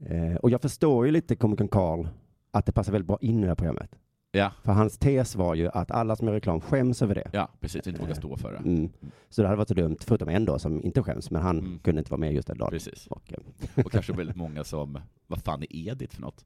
S4: Eh, och jag förstår ju lite komikern Karl, att det passar väldigt bra in i det här programmet.
S3: Ja.
S4: För hans tes var ju att alla som gör reklam skäms över det.
S3: ja, precis. Inte våga stå för det.
S4: Mm. Så det hade varit så dumt, förutom en då som inte skäms, men han
S3: Mm.
S4: kunde inte vara med just den dagen.
S3: Precis.
S4: Och, eh,
S3: Och kanske väldigt många som, vad fan är Edith för något?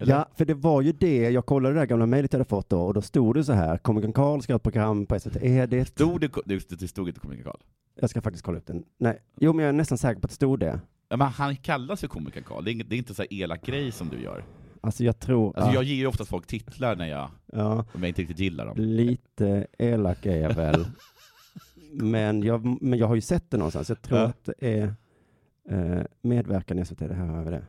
S3: Eller?
S4: ja, för det var ju det, jag kollade det där gamla mejlet jag hade fått då, och då stod det så här, komikern Karl ska ha ett program på E, SVT Edit.
S3: Stod det, det det stod inte Komiker Karl?
S4: Jag ska faktiskt kolla upp den. Nej, jo men jag är nästan säker på att det stod det.
S3: Ja, men han kallas ju Komiker Karl. Det, är inget- det är inte så här elak grej som du gör.
S4: Alltså jag tror,
S3: Alltså,
S4: ja,
S3: Jag ger ju oftast folk titlar när jag,
S4: ja,
S3: om jag inte riktigt gillar dem.
S4: lite elak är
S3: [laughs]
S4: jag väl. men, jag, men jag har ju sett det någonstans, jag tror
S3: Ja.
S4: att det är eh, medverkan i SVT, det här har vi det.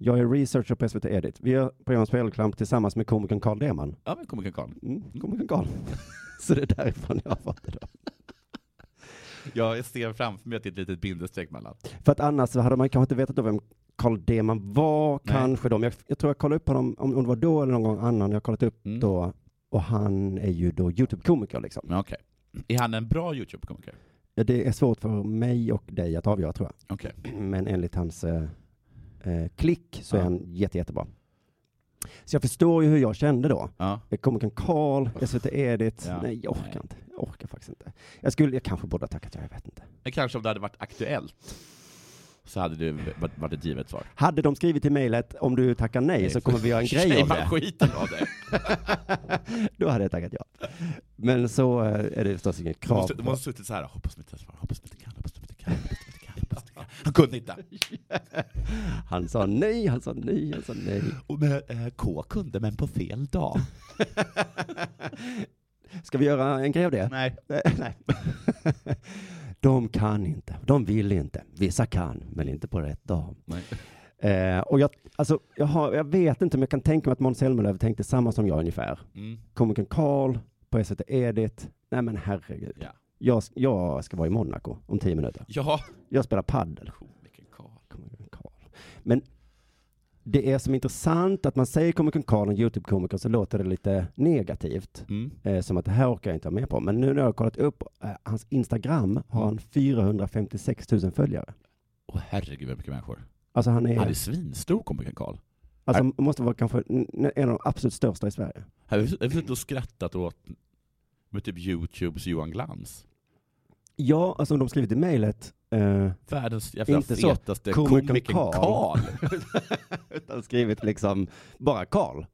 S4: Jag är researcher på SVT Edit. Vi gör programmet Spelreklam tillsammans med komikern Karl Deman.
S3: Ja, men Komiker Karl.
S4: Mm, komikern Karl. [laughs] Så det är därifrån jag har fått det då.
S3: Jag ser framför mig att det är ett litet bindestreck mellan.
S4: För att annars så hade man kanske inte vetat då vem Carl Deman var,
S3: Nej.
S4: kanske då. Men jag, jag tror jag kollade upp honom, om, om det var då eller någon gång annan, jag har kollat upp
S3: Mm.
S4: då. Och han är ju då YouTube-komiker liksom.
S3: Men okej. Är han en bra YouTube-komiker?
S4: Ja, Det är svårt för mig och dig att avgöra tror
S3: Okej.
S4: jag. Men enligt hans eh, eh, klick så är
S3: Ja.
S4: han jätte, jättebra. Så jag förstår ju hur jag kände då.
S3: Ja.
S4: Komikern Karl, SVT Edit.
S3: Ja.
S4: Nej, jag orkar
S3: Nej.
S4: inte. Jag orkar faktiskt inte. Jag skulle, jag kanske borde ha tackat ja, jag vet inte.
S3: Men kanske om det hade varit aktuellt. så hade det va- varit ett givet svar.
S4: Hade de skrivit i mejlet om du tackar nej,
S3: Nej,
S4: så
S3: [laughs]
S4: kommer vi göra en grej av
S3: Shamear
S4: det.
S3: skiten av dig.
S4: [laughs] Då hade jag tackat ja. Men så eh, är det förstås inget
S3: Du
S4: krav.
S3: måste, du måste suttit såhär, hoppas de inte svarar, hoppas de inte kan, hoppas de inte kan, hoppas de inte kan, hoppas de inte kan. Han kunde inte.
S4: Han sa nej, han sa nej, han sa nej.
S3: Och med, eh, K kunde, men på fel dag.
S4: Ska vi göra en grej av
S3: [laughs]
S4: det?
S3: Nej.
S4: Nej. nej. De kan inte, de vill inte. Vissa kan, men inte på rätt dag.
S3: Nej.
S4: Eh, och jag, alltså, jag, har, jag vet inte, men jag kan tänka mig att Måns Zelmerlöw tänkte samma som jag ungefär.
S3: Mm.
S4: Komikern Karl på SVT Edit. Nej men herregud.
S3: Ja.
S4: Jag, jag ska vara i Monaco om tio minuter.
S3: Ja.
S4: Jag spelar paddel.
S3: Komikern Karl.
S4: Komikern Karl. Men det är som intressant att man säger komikern Karl och Youtube-komiker så låter det lite negativt.
S3: Mm.
S4: Eh, som att det här orkar jag inte vara med på. Men nu när jag har kollat upp eh, hans Instagram har han 456 000 följare.
S3: Åh herregud vad mycket människor.
S4: Alltså han är,
S3: Han är svinstor komikern Karl.
S4: alltså, han måste vara kanske n- en av de absolut största i Sverige.
S3: Jag har suttit och skrattat åt med typ Youtubes Johan Glans.
S4: Ja, alltså om de skrivit i mejlet, eh,
S3: Världens jävla
S4: Inte så.
S3: fetaste
S4: Komikern
S3: komikern
S4: Karl.
S3: Karl.
S4: utan skrivit liksom bara Karl.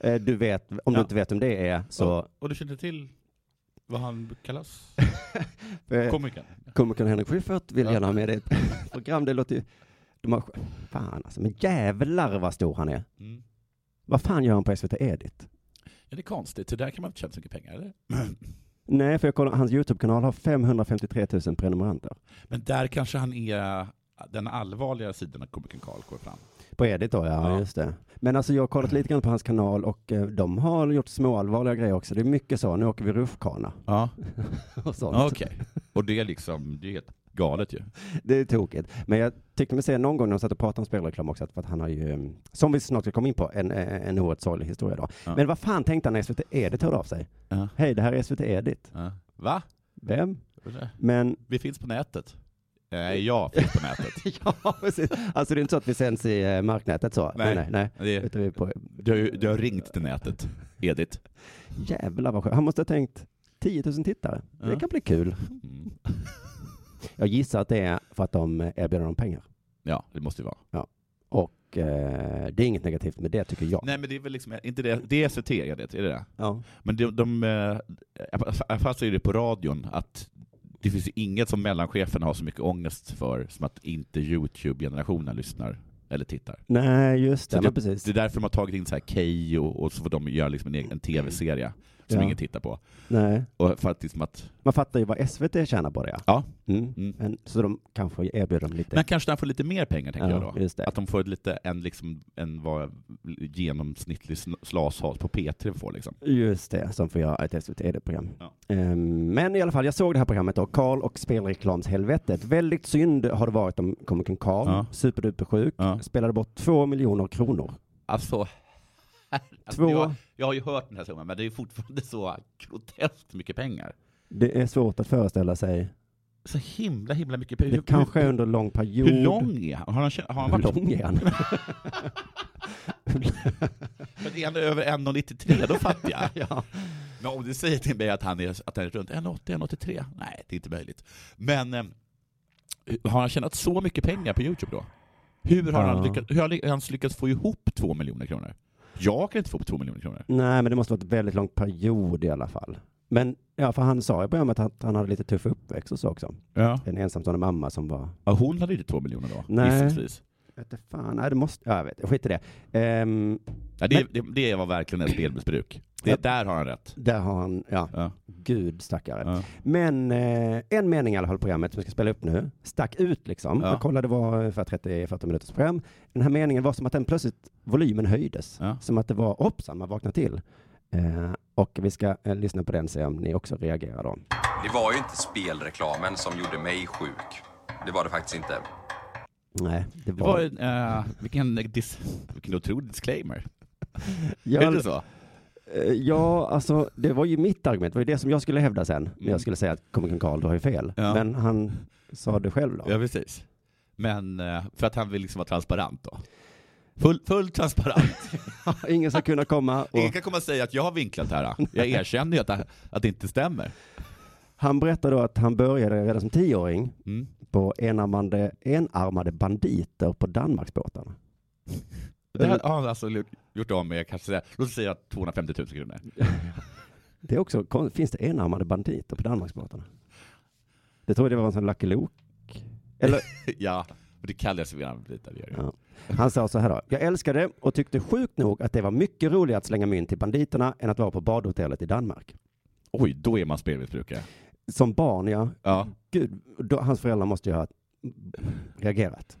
S4: Eh, du vet, om du
S3: Ja.
S4: inte vet vem det är så,
S3: Och du känner till vad han kallas?
S4: eh,
S3: Komikern?
S4: komikern Henrik Schyffert vill
S3: Ja.
S4: gärna ha med dig i ett [laughs] program. Det låter ju, de har, fan alltså, men jävlar vad stor han är.
S3: Mm.
S4: Vad fan gör han på SVT Edit?
S3: Ja, det är konstigt, så där kan man inte tjäna så mycket pengar, eller?
S4: Nej, för jag kollar, hans YouTube-kanal har 553 000 prenumeranter.
S3: Men där kanske han är den allvarliga sidan av komikern Karl går fram.
S4: På Edit då, ja,
S3: Ja.
S4: just det. Men alltså jag har kollat lite grann på hans kanal och eh, de har gjort småallvarliga grejer också. Det är mycket så, nu åker vi rutschkana
S3: Ja,
S4: [laughs] och sånt.
S3: okej. [laughs] Och det är liksom, det är helt galet ju.
S4: Det är tokigt. Men jag tyckte mig se någon gång när de satt och pratade om spelreklam också, att- för att han har ju, eh, som vi snart ska komma in på, en, eh, en oerhört sorglig historia då.
S3: Ja.
S4: Men vad fan tänkte han när SVT Edit hörde av sig?
S3: Ja.
S4: Hej, det här är SVT Edit.
S3: Ja. Va?
S4: Vem?
S3: [laughs]
S4: Men,
S3: Vi finns på nätet. Nej, jag finns på nätet.
S4: ja precis. Alltså det är inte så att vi sänds i eh, marknätet så.
S3: Nej.
S4: nej, nej.
S3: [laughs] Det,
S4: Utan vi är på,
S3: du, har, ju- du har ringt till nätet, Edith.
S4: jävlar vad skönt. Han måste ha tänkt 10 000 tittare. Det
S3: Ja.
S4: kan bli kul.
S3: Mm.
S4: Jag gissar att det är för att de eh, erbjuder dem pengar.
S3: Ja, det måste ju vara.
S4: Och eh, det är inget negativt med det tycker jag.
S3: Nej men det är väl liksom, inte det, det är SVT, Edith, är det det?
S4: Ja. Men
S3: Men de, de eh, jag fastnade ju det på radion, att det finns ju inget som mellancheferna har så mycket ångest för som att inte YouTube-generationen lyssnar eller tittar.
S4: nej just det,
S3: Så
S4: men precis.
S3: Det är därför de har tagit in så här Keyyo och så får de göra liksom en, egen- en TV-serie som
S4: Ja.
S3: ingen tittar på.
S4: nej.
S3: Och för att, liksom att,
S4: Man fattar ju vad SVT tjänar på det. ja.
S3: Ja.
S4: Mm.
S3: Mm.
S4: Men, så de kanske erbjuder dem lite.
S3: men kanske de får lite mer pengar tänker
S4: ja,
S3: jag då.
S4: Just det.
S3: Att de får lite, en, liksom, en vad genomsnittlig sn- slashals på P3 får liksom.
S4: Just det, som får göra ett SVT Edit-program.
S3: Ja.
S4: Ehm, men i alla fall, jag såg det här programmet då, Karl och spelreklamshelvetet. Väldigt synd har det varit om komikern Karl,
S3: Ja.
S4: superduper sjuk,
S3: Ja.
S4: spelade bort två miljoner kronor.
S3: Alltså,
S4: Två.
S3: alltså jag, jag har ju hört den här summan, men det är ju fortfarande så groteskt mycket pengar.
S4: Det är svårt att föreställa sig.
S3: Så himla, himla mycket pengar.
S4: Det kanske är under en lång period.
S3: hur lång är han? Har han, kä- har han
S4: Hur
S3: varit
S4: lång är han?
S3: För är han över 1,93 då fattar jag.
S4: [laughs] ja.
S3: Men om du säger till mig att han är, att han är runt 1,80, 1,83? Nej, det är inte möjligt. Men eh, har han tjänat så mycket pengar på Youtube då? Hur har, han
S4: Ja.
S3: lyckats, hur har han ens lyckats få ihop två miljoner kronor? Jag kan inte få på två miljoner kronor.
S4: [laughs] Nej, men det måste varit en väldigt lång period i alla fall. Men ja, för han sa i programmet att han hade lite tuff uppväxt och så också.
S3: Ja.
S4: En ensamstående mamma som var
S3: hon hade ju inte två miljoner då,
S4: Nej.
S3: gissningsvis.
S4: Vete fan, nej det måste, ja, jag vet, skit i det. Ehm,
S3: Ja, det, det, det var verkligen ett spelmissbruk.
S4: Ja.
S3: Det, där har han rätt.
S4: där har han, ja,
S3: Ja.
S4: gud stackare.
S3: Ja.
S4: Men eh, en mening i alla fall i programmet som jag ska spela upp nu, stack ut liksom.
S3: Ja.
S4: Jag kollade, det var ungefär 30-40 minuters program. Den här meningen var som att den plötsligt, volymen höjdes.
S3: Ja.
S4: Som att det var, hoppsan, man vaknade till. Eh, och vi ska eh, lyssna på den och se om ni också reagerar då.
S1: Det var ju inte spelreklamen som gjorde mig sjuk. Det var det faktiskt inte.
S4: Nej, det
S3: Det
S4: var...
S3: var en, eh, vilken, dis, vilken otrolig disclaimer.
S4: jag,
S3: Är det så?
S4: eh, ja, alltså det var ju mitt argument. Det var ju det som jag skulle hävda sen. När jag skulle säga att komikern Karl, du har ju fel.
S3: Mm. Ja.
S4: Men han sa det själv då.
S3: Ja, precis. Men eh, för att han vill liksom vara transparent då. Full, full [laughs] transparent.
S4: [laughs] Ingen ska
S3: [laughs]
S4: kunna komma och...
S3: Ingen kan komma och säga att jag har vinklat här. Jag erkänner ju att, det- att det inte stämmer.
S4: Han berättar då att han började redan som tioåring
S3: Mm.
S4: på enarmade, enarmade banditer på Danmarksbåtarna.
S3: Det här har han alltså gjort av med, kanske, låt oss säga 250 000 kronor.
S4: Det är också kon- Finns det enarmade banditer på Danmarksbåtarna? Det tror jag det var en sån Lucky Luke. Eller,
S3: ja, men det kallas vi redan lite. Det gör det.
S4: Ja. han sa så här då. Jag älskade och tyckte sjukt nog att det var mycket roligare att slänga mynt till banditerna än att vara på badhotellet i Danmark.
S3: Oj, då är man spelmissbrukare.
S4: Som barn, ja.
S3: Ja.
S4: Gud, då, hans föräldrar måste ju ha reagerat.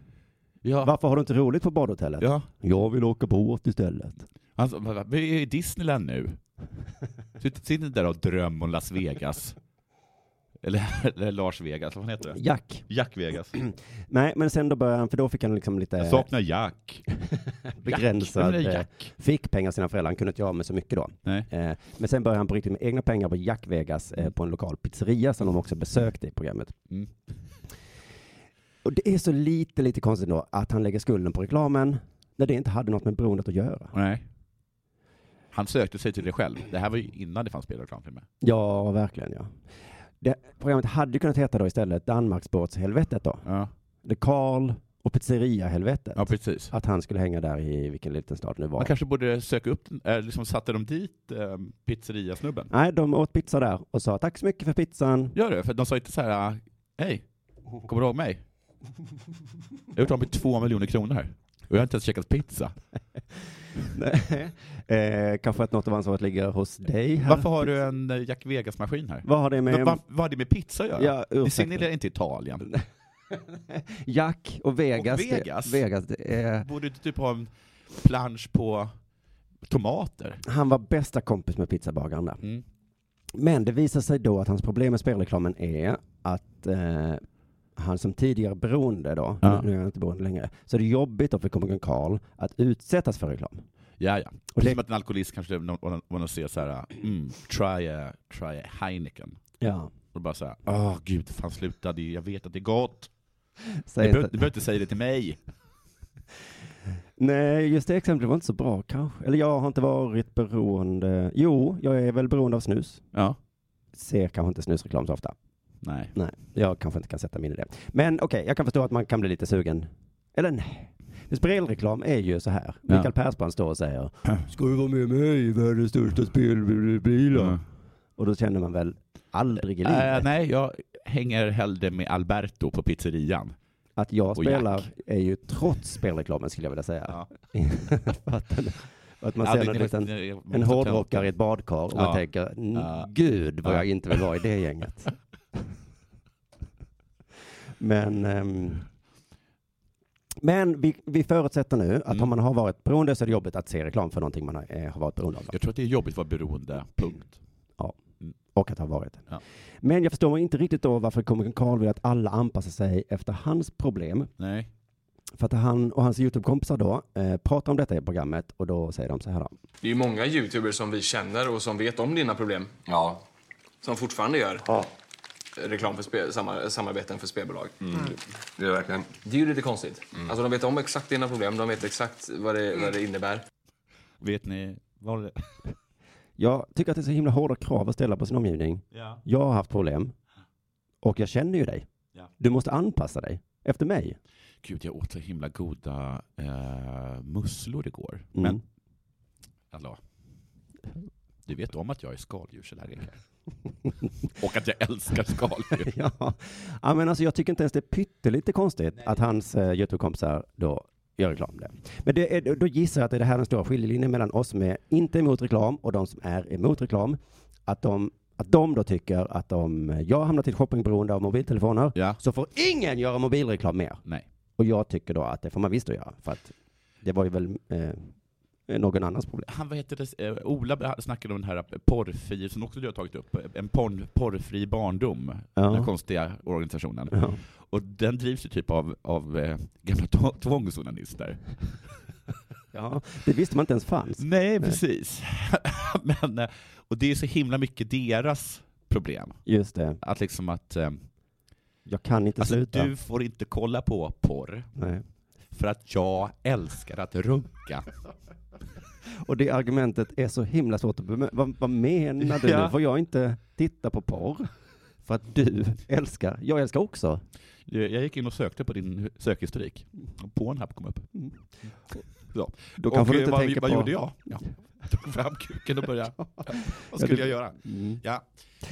S3: Ja.
S4: Varför har du inte roligt på badhotellet?
S3: ja.
S4: Jag vill åka båt istället.
S3: Alltså, va- va- vi är i Disneyland nu. Sitt- Sitt inte där och dröm om Las Vegas. Eller, [laughs] eller Lars Vegas, vad fan heter det?
S4: Jack.
S3: Jack Vegas.
S4: Nej, men sen då började han, för då fick han liksom lite
S3: Jag saknar Jack.
S4: begränsad,
S3: Jack.
S4: eh,
S3: Jack.
S4: fick pengar av sina föräldrar, han kunde inte göra av med så mycket då.
S3: Nej.
S4: Eh, Men sen började han på riktigt med egna pengar på Jack Vegas eh, på en lokal pizzeria som de också besökte i programmet.
S3: Mm.
S4: Och det är så lite, lite konstigt då att han lägger skulden på reklamen när det inte hade något med beroendet att göra.
S3: Nej. Han sökte sig till det själv. Det här var ju innan det fanns spelreklamfilmer.
S4: Ja, verkligen ja. Det, programmet hade ju kunnat heta då istället Danmarksbåtshelvetet då.
S3: Ja.
S4: The Carl och pizzeria-helvetet.
S3: ja, precis.
S4: Att han skulle hänga där i vilken liten stad det nu var.
S3: Man kanske borde söka upp, den- eh, liksom satte de dit eh, pizzeriasnubben?
S4: Nej, de åt pizza där och sa tack så mycket
S3: [laughs]
S4: för pizzan.
S3: Gör det, för de sa inte så här, "Ah, hej, kommer du ihåg mig? Jag har gjort av med två miljoner kronor här. Och jag har inte ens käkat pizza.
S4: eh, kanske att något av ansvaret ligger hos dig. Här.
S3: Varför har du en eh, Jack Vegas-maskin här?
S4: Vad har det
S3: Men
S4: med...
S3: vad, vad har det med pizza att göra?
S4: Ja,
S3: det
S4: ursäkta.
S3: signalerar inte Italien.
S4: Jack och Vegas.
S3: Och Vegas?
S4: Det, Vegas det är,
S3: Borde du typ ha en plansch på tomater?
S4: han var bästa kompis med pizzabagaren där.
S3: Mm.
S4: Men det visar sig då att hans problem med spelreklamen är att eh, han som tidigare beroende då,
S3: Ja.
S4: nu är han inte beroende längre, så är det jobbigt då för komikern Karl att utsättas för reklam.
S3: Ja, ja.
S4: det-
S3: Precis som att en alkoholist kanske vill se så här, mm, try, a, try a Heineken.
S4: Ja,
S3: Och bara såhär, åh gud, fan sluta, det, jag vet att det är gott. Du
S4: [laughs] säg
S3: behöver,
S4: inte.
S3: du behöver inte säga det till mig.
S4: Nej, just det exemplet var inte så bra kanske. Eller jag har inte varit beroende. Jo, jag är väl beroende av snus.
S3: Ja.
S4: Ser kanske inte snusreklam så ofta.
S3: Nej.
S4: Nej, jag kanske inte kan sätta mig in i det. Men okej, jag kan förstå att man kan bli lite sugen. Eller nej. För Spelreklam är ju så här.
S3: Ja.
S4: Mikael Persbrandt står och säger [clears throat] Ska du vara med mig i världens största spelbilar? Och då känner man väl aldrig i livet
S3: Mm. Äh, nej, jag hänger hellre med Alberto på pizzerian.
S4: att jag
S3: och
S4: spelar
S3: Jack.
S4: är ju trots spelreklamen skulle jag vilja säga.
S3: Ja.
S4: [laughs] För att, den, för att man
S3: Ja,
S4: ser
S3: det-
S4: en
S3: det-
S4: liten
S3: det- jag måste
S4: en
S3: ta-
S4: hårdrockare i ett badkar och
S3: Ja.
S4: man tänker, "N-
S3: Ja.
S4: gud vad
S3: Ja.
S4: jag inte vill vara i det gänget. [laughs] men ehm, men vi, vi förutsätter nu att
S3: Mm.
S4: om man har varit beroende så är det jobbigt att se reklam för någonting man har, eh, har varit beroende av.
S3: Jag tror att det är jobbigt att vara beroende, punkt.
S4: Och att ha varit.
S3: Ja.
S4: Men jag förstår inte riktigt då varför komikern Karl vill att alla anpassar sig efter hans problem.
S3: Nej.
S4: För att han och hans YouTube-kompisar då eh, pratar om detta i programmet och då säger de så här då.
S5: Det är ju många youtubers som vi känner och som vet om dina problem.
S1: Ja,
S5: Som fortfarande gör reklam för spe, samma, samarbeten för spelbolag.
S1: Mm. det är verkligen. Mm.
S5: Det är ju lite konstigt. Alltså de vet om exakt dina problem, de vet exakt vad det, vad det innebär.
S3: Vet ni vad det... [laughs]
S4: Jag tycker att det är så himla hårda krav att ställa på sin omgivning.
S3: Ja.
S4: jag har haft problem och jag känner ju dig.
S3: Ja.
S4: Du måste anpassa dig efter mig.
S3: Gud, jag åt så himla goda eh, musslor igår.
S4: Mm.
S3: Men, hallå. Du vet om att jag är
S4: [laughs]
S3: skaldjursallergiker? Och att jag älskar skaldjur. [laughs]
S4: ja. ja, men alltså jag tycker inte ens det är pyttelite konstigt att hans eh, YouTube-kompisar då gör reklam för det. Men det är, då gissar jag att det är det här den stora skiljelinjen mellan oss som är inte emot reklam och de som är emot reklam. Att de, att de då tycker att om jag hamnat i ett shoppingberoende av mobiltelefoner
S3: Ja.
S4: så får ingen göra mobilreklam mer.
S3: Nej.
S4: Och jag tycker då att det får man visst att göra för att det var ju väl eh, någon annans problem.
S3: han, vad heter det, eh, Ola snackade om den här eh, porrfri, som också du har tagit upp, eh, en porn, porrfri barndom,
S4: Ja.
S3: den här konstiga organisationen.
S4: Ja.
S3: Och den drivs ju typ av, av eh, gamla tå- tvångsonanister.
S4: Ja, det visste man inte ens fanns.
S3: Nej, precis. [laughs] Men, eh, och det är så himla mycket deras problem.
S4: Just det,
S3: Att liksom att, eh,
S4: jag kan inte
S3: alltså,
S4: sluta.
S3: du får inte kolla på porr,
S4: Nej.
S3: för att jag älskar att runka.
S4: Och det argumentet är så himla svårt att bemöta. Vad, vad menar du
S3: Ja.
S4: nu? Får jag inte titta på porr? För att du älskar, jag älskar också.
S3: Jag jag gick in och sökte på din sökhistorik. Pornhub kom upp. Så.
S4: Då
S3: Och,
S4: kanske du
S3: eh,
S4: inte
S3: vad,
S4: tänker
S3: vad
S4: på...
S3: gjorde jag? Ja. [laughs] Tog fram kuken och [laughs] började. Vad skulle
S4: du-
S3: jag göra?
S4: Mm.
S3: Ja.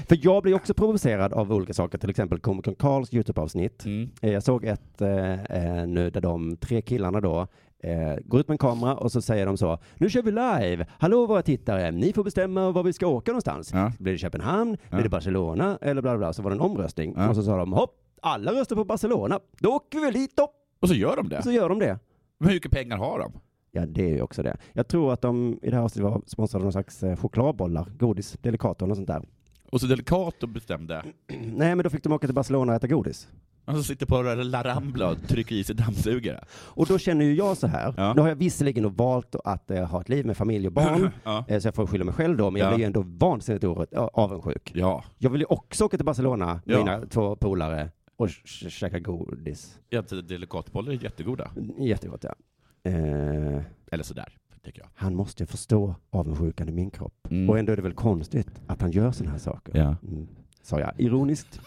S4: För jag blir också provocerad av olika saker, till exempel Komikern Karls YouTube-avsnitt.
S3: Mm.
S4: Eh, Jag såg ett eh, eh, nu där de tre killarna då eh, går ut med en kamera och så säger de så. Nu kör vi live! Hallå våra tittare! Ni får bestämma var vi ska åka någonstans.
S3: Ja.
S4: Blir det Köpenhamn?
S3: Ja.
S4: Blir det Barcelona? Eller bla bla bla. Så var det en omröstning.
S3: Ja.
S4: Och så sa de hopp! Alla röstar på Barcelona. Då åker vi dit då!
S3: Och så gör de det.
S4: Så gör de det.
S3: Men hur mycket pengar har de?
S4: Ja, det är ju också det. Jag tror att de i det här avsnittet var sponsrade av någon slags eh, chokladbollar, godis, Delicato och något sånt där.
S3: Och så Delicato bestämde.
S4: Nej, men då fick de åka till Barcelona och äta godis.
S3: Han som sitter på La Rambla och trycker i sig dammsugare.
S4: Och då känner ju jag så här.
S3: Ja.
S4: Nu har jag visserligen då valt att eh, ha ett liv med familj
S3: [clears throat]
S4: och barn,
S3: Ja.
S4: eh, så jag får skylla mig själv då, men jag
S3: Ja.
S4: blir ju ändå vansinnigt or- avundsjuk.
S3: Ja,
S4: Jag vill ju också åka till Barcelona med
S3: Ja.
S4: mina två polare och ch- ch- käka godis.
S3: jätte- delikatbollar är jättegoda.
S4: Jättegott, ja. Eh,
S3: Eller sådär, tycker jag.
S4: han måste ju förstå avundsjukan i min kropp.
S3: Mm.
S4: Och ändå är det väl konstigt att han gör sådana här saker.
S3: Ja.
S4: Mm, sa jag ironiskt.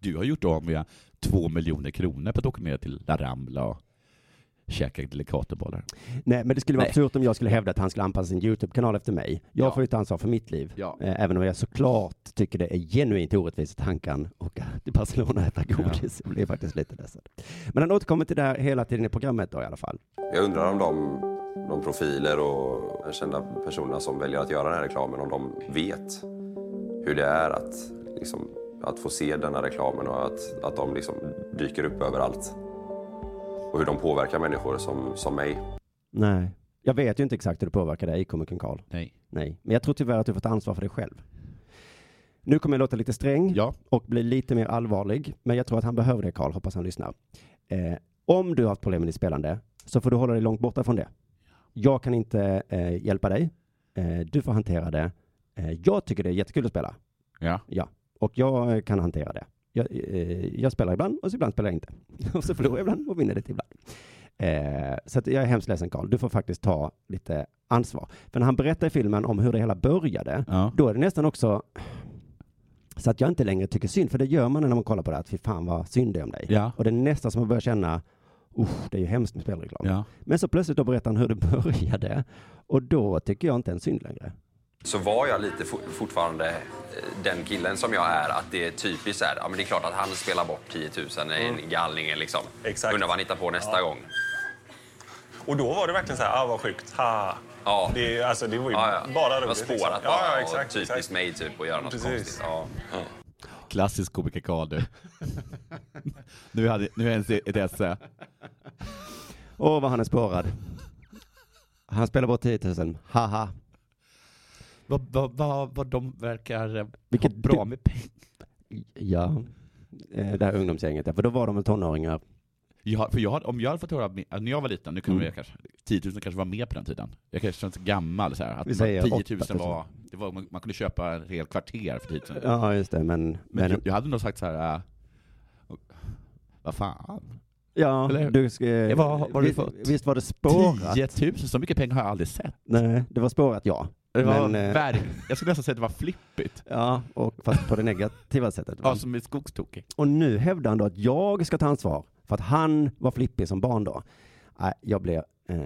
S3: Du har gjort av med två miljoner kronor på att åka ner till La Rambla och käka Delicatobollar.
S4: Nej, men det skulle vara
S3: Nej.
S4: absurt om jag skulle hävda att han skulle anpassa sin YouTube-kanal efter mig. Jag
S3: Ja.
S4: får ju ta ansvar för mitt liv.
S3: Ja.
S4: Eh, Även om jag såklart tycker det är genuint orättvist att han kan åka till Barcelona och äta godis. Jag blir faktiskt lite ledsen. Men han återkommer till det här hela tiden i programmet då i alla fall.
S1: Jag undrar om de, de profiler och de kända personerna som väljer att göra den här reklamen, om de vet hur det är att, liksom, att få se den här reklamen och att, att de liksom dyker upp överallt. Och hur de påverkar människor som, som mig.
S4: Nej. Jag vet ju inte exakt hur det påverkar dig, komikern Karl.
S3: Nej.
S4: Nej. Men jag tror tyvärr att du får ta ansvar för dig själv. Nu kommer jag låta lite sträng
S3: Ja.
S4: och bli lite mer allvarlig. Men jag tror att han behöver det, Karl. Hoppas han lyssnar. Eh, om du har haft problem med ditt spelande så får du hålla dig långt borta från det. Jag kan inte eh, hjälpa dig. Eh, du får hantera det. Eh, jag tycker det är jättekul att spela.
S3: Ja.
S4: Och jag eh, kan hantera det. Jag, eh, jag spelar ibland och så ibland spelar jag inte. [laughs] Och så förlorar jag ibland och vinner lite ibland. Eh, så att jag är hemskt ledsen Karl. Du får faktiskt ta lite ansvar. För när han berättar i filmen om hur det hela började,
S3: Ja.
S4: då är det nästan också så att jag inte längre tycker synd. För det gör man när man kollar på det, att fy fan vad synd det är om dig.
S3: Ja.
S4: Och det är nästan som att börja känna, usch, det är ju hemskt med spelreklam.
S3: ja.
S4: Men så plötsligt då berättar han hur det [laughs] började. Och då tycker jag inte ens synd längre.
S1: så var jag lite for- fortfarande eh, den killen som jag är. Att det är typiskt så här, ja men det är klart att han spelar bort 10 000 i en gallning liksom.
S6: Mm. Exakt.
S1: Undrar vad han hittar på nästa gång.
S6: Och då var det verkligen så här, ah vad sjukt, ha.
S1: Ja.
S6: Det, är- alltså, det var ju
S1: Ja, ja.
S6: bara
S1: Det
S6: roligt.
S1: var spårat
S6: liksom.
S1: bara.
S6: Ja, ja,
S1: och
S6: exakt.
S1: typiskt
S6: exakt.
S1: mig typ att göra något
S6: Precis.
S1: konstigt. Ja.
S3: Klassisk komiker Karl du. [laughs] nu hade nu är ens ett esse.
S4: Åh, vad han är spårad. Han spelar bort 10 000. Haha.
S3: Vad, vad, vad, vad de verkar eh,
S4: Vilket
S3: ha bra med pengar.
S4: Ja. Eh, Det här ungdomsgänget, ja. för då var de väl tonåringar.
S3: Jag, för jag, hade- om jag hade fått höra, med- när jag var liten, nu kunde
S4: Mm.
S3: jag kanske, 10 000 kanske var med på den tiden. Jag kanske känns gammal så här, att
S4: Vi säger
S3: man, 10
S4: 8 000.
S3: 000 var, det var, man, man kunde köpa en hel kvarter för 10 000.
S4: Ja, just det, men...
S3: Men
S4: men,
S3: jag, jag hade nog sagt så här. Äh, vad fan?
S4: ja,
S3: eller-
S4: du ska,
S3: Ja, vad- vad har du
S4: visst,
S3: fått?
S4: visst var det spårat?
S3: 10 000, så mycket pengar har jag aldrig sett.
S4: Nej, det var spårat, ja.
S3: Det var
S4: Men, eh,
S3: verk, jag skulle nästan säga att det var flippigt.
S4: Ja, och fast på det negativa sättet.
S3: Ja, som är skogstokig.
S4: Och nu hävdar han då att jag ska ta ansvar för att han var flippig som barn då. Nej, jag blev... Eh...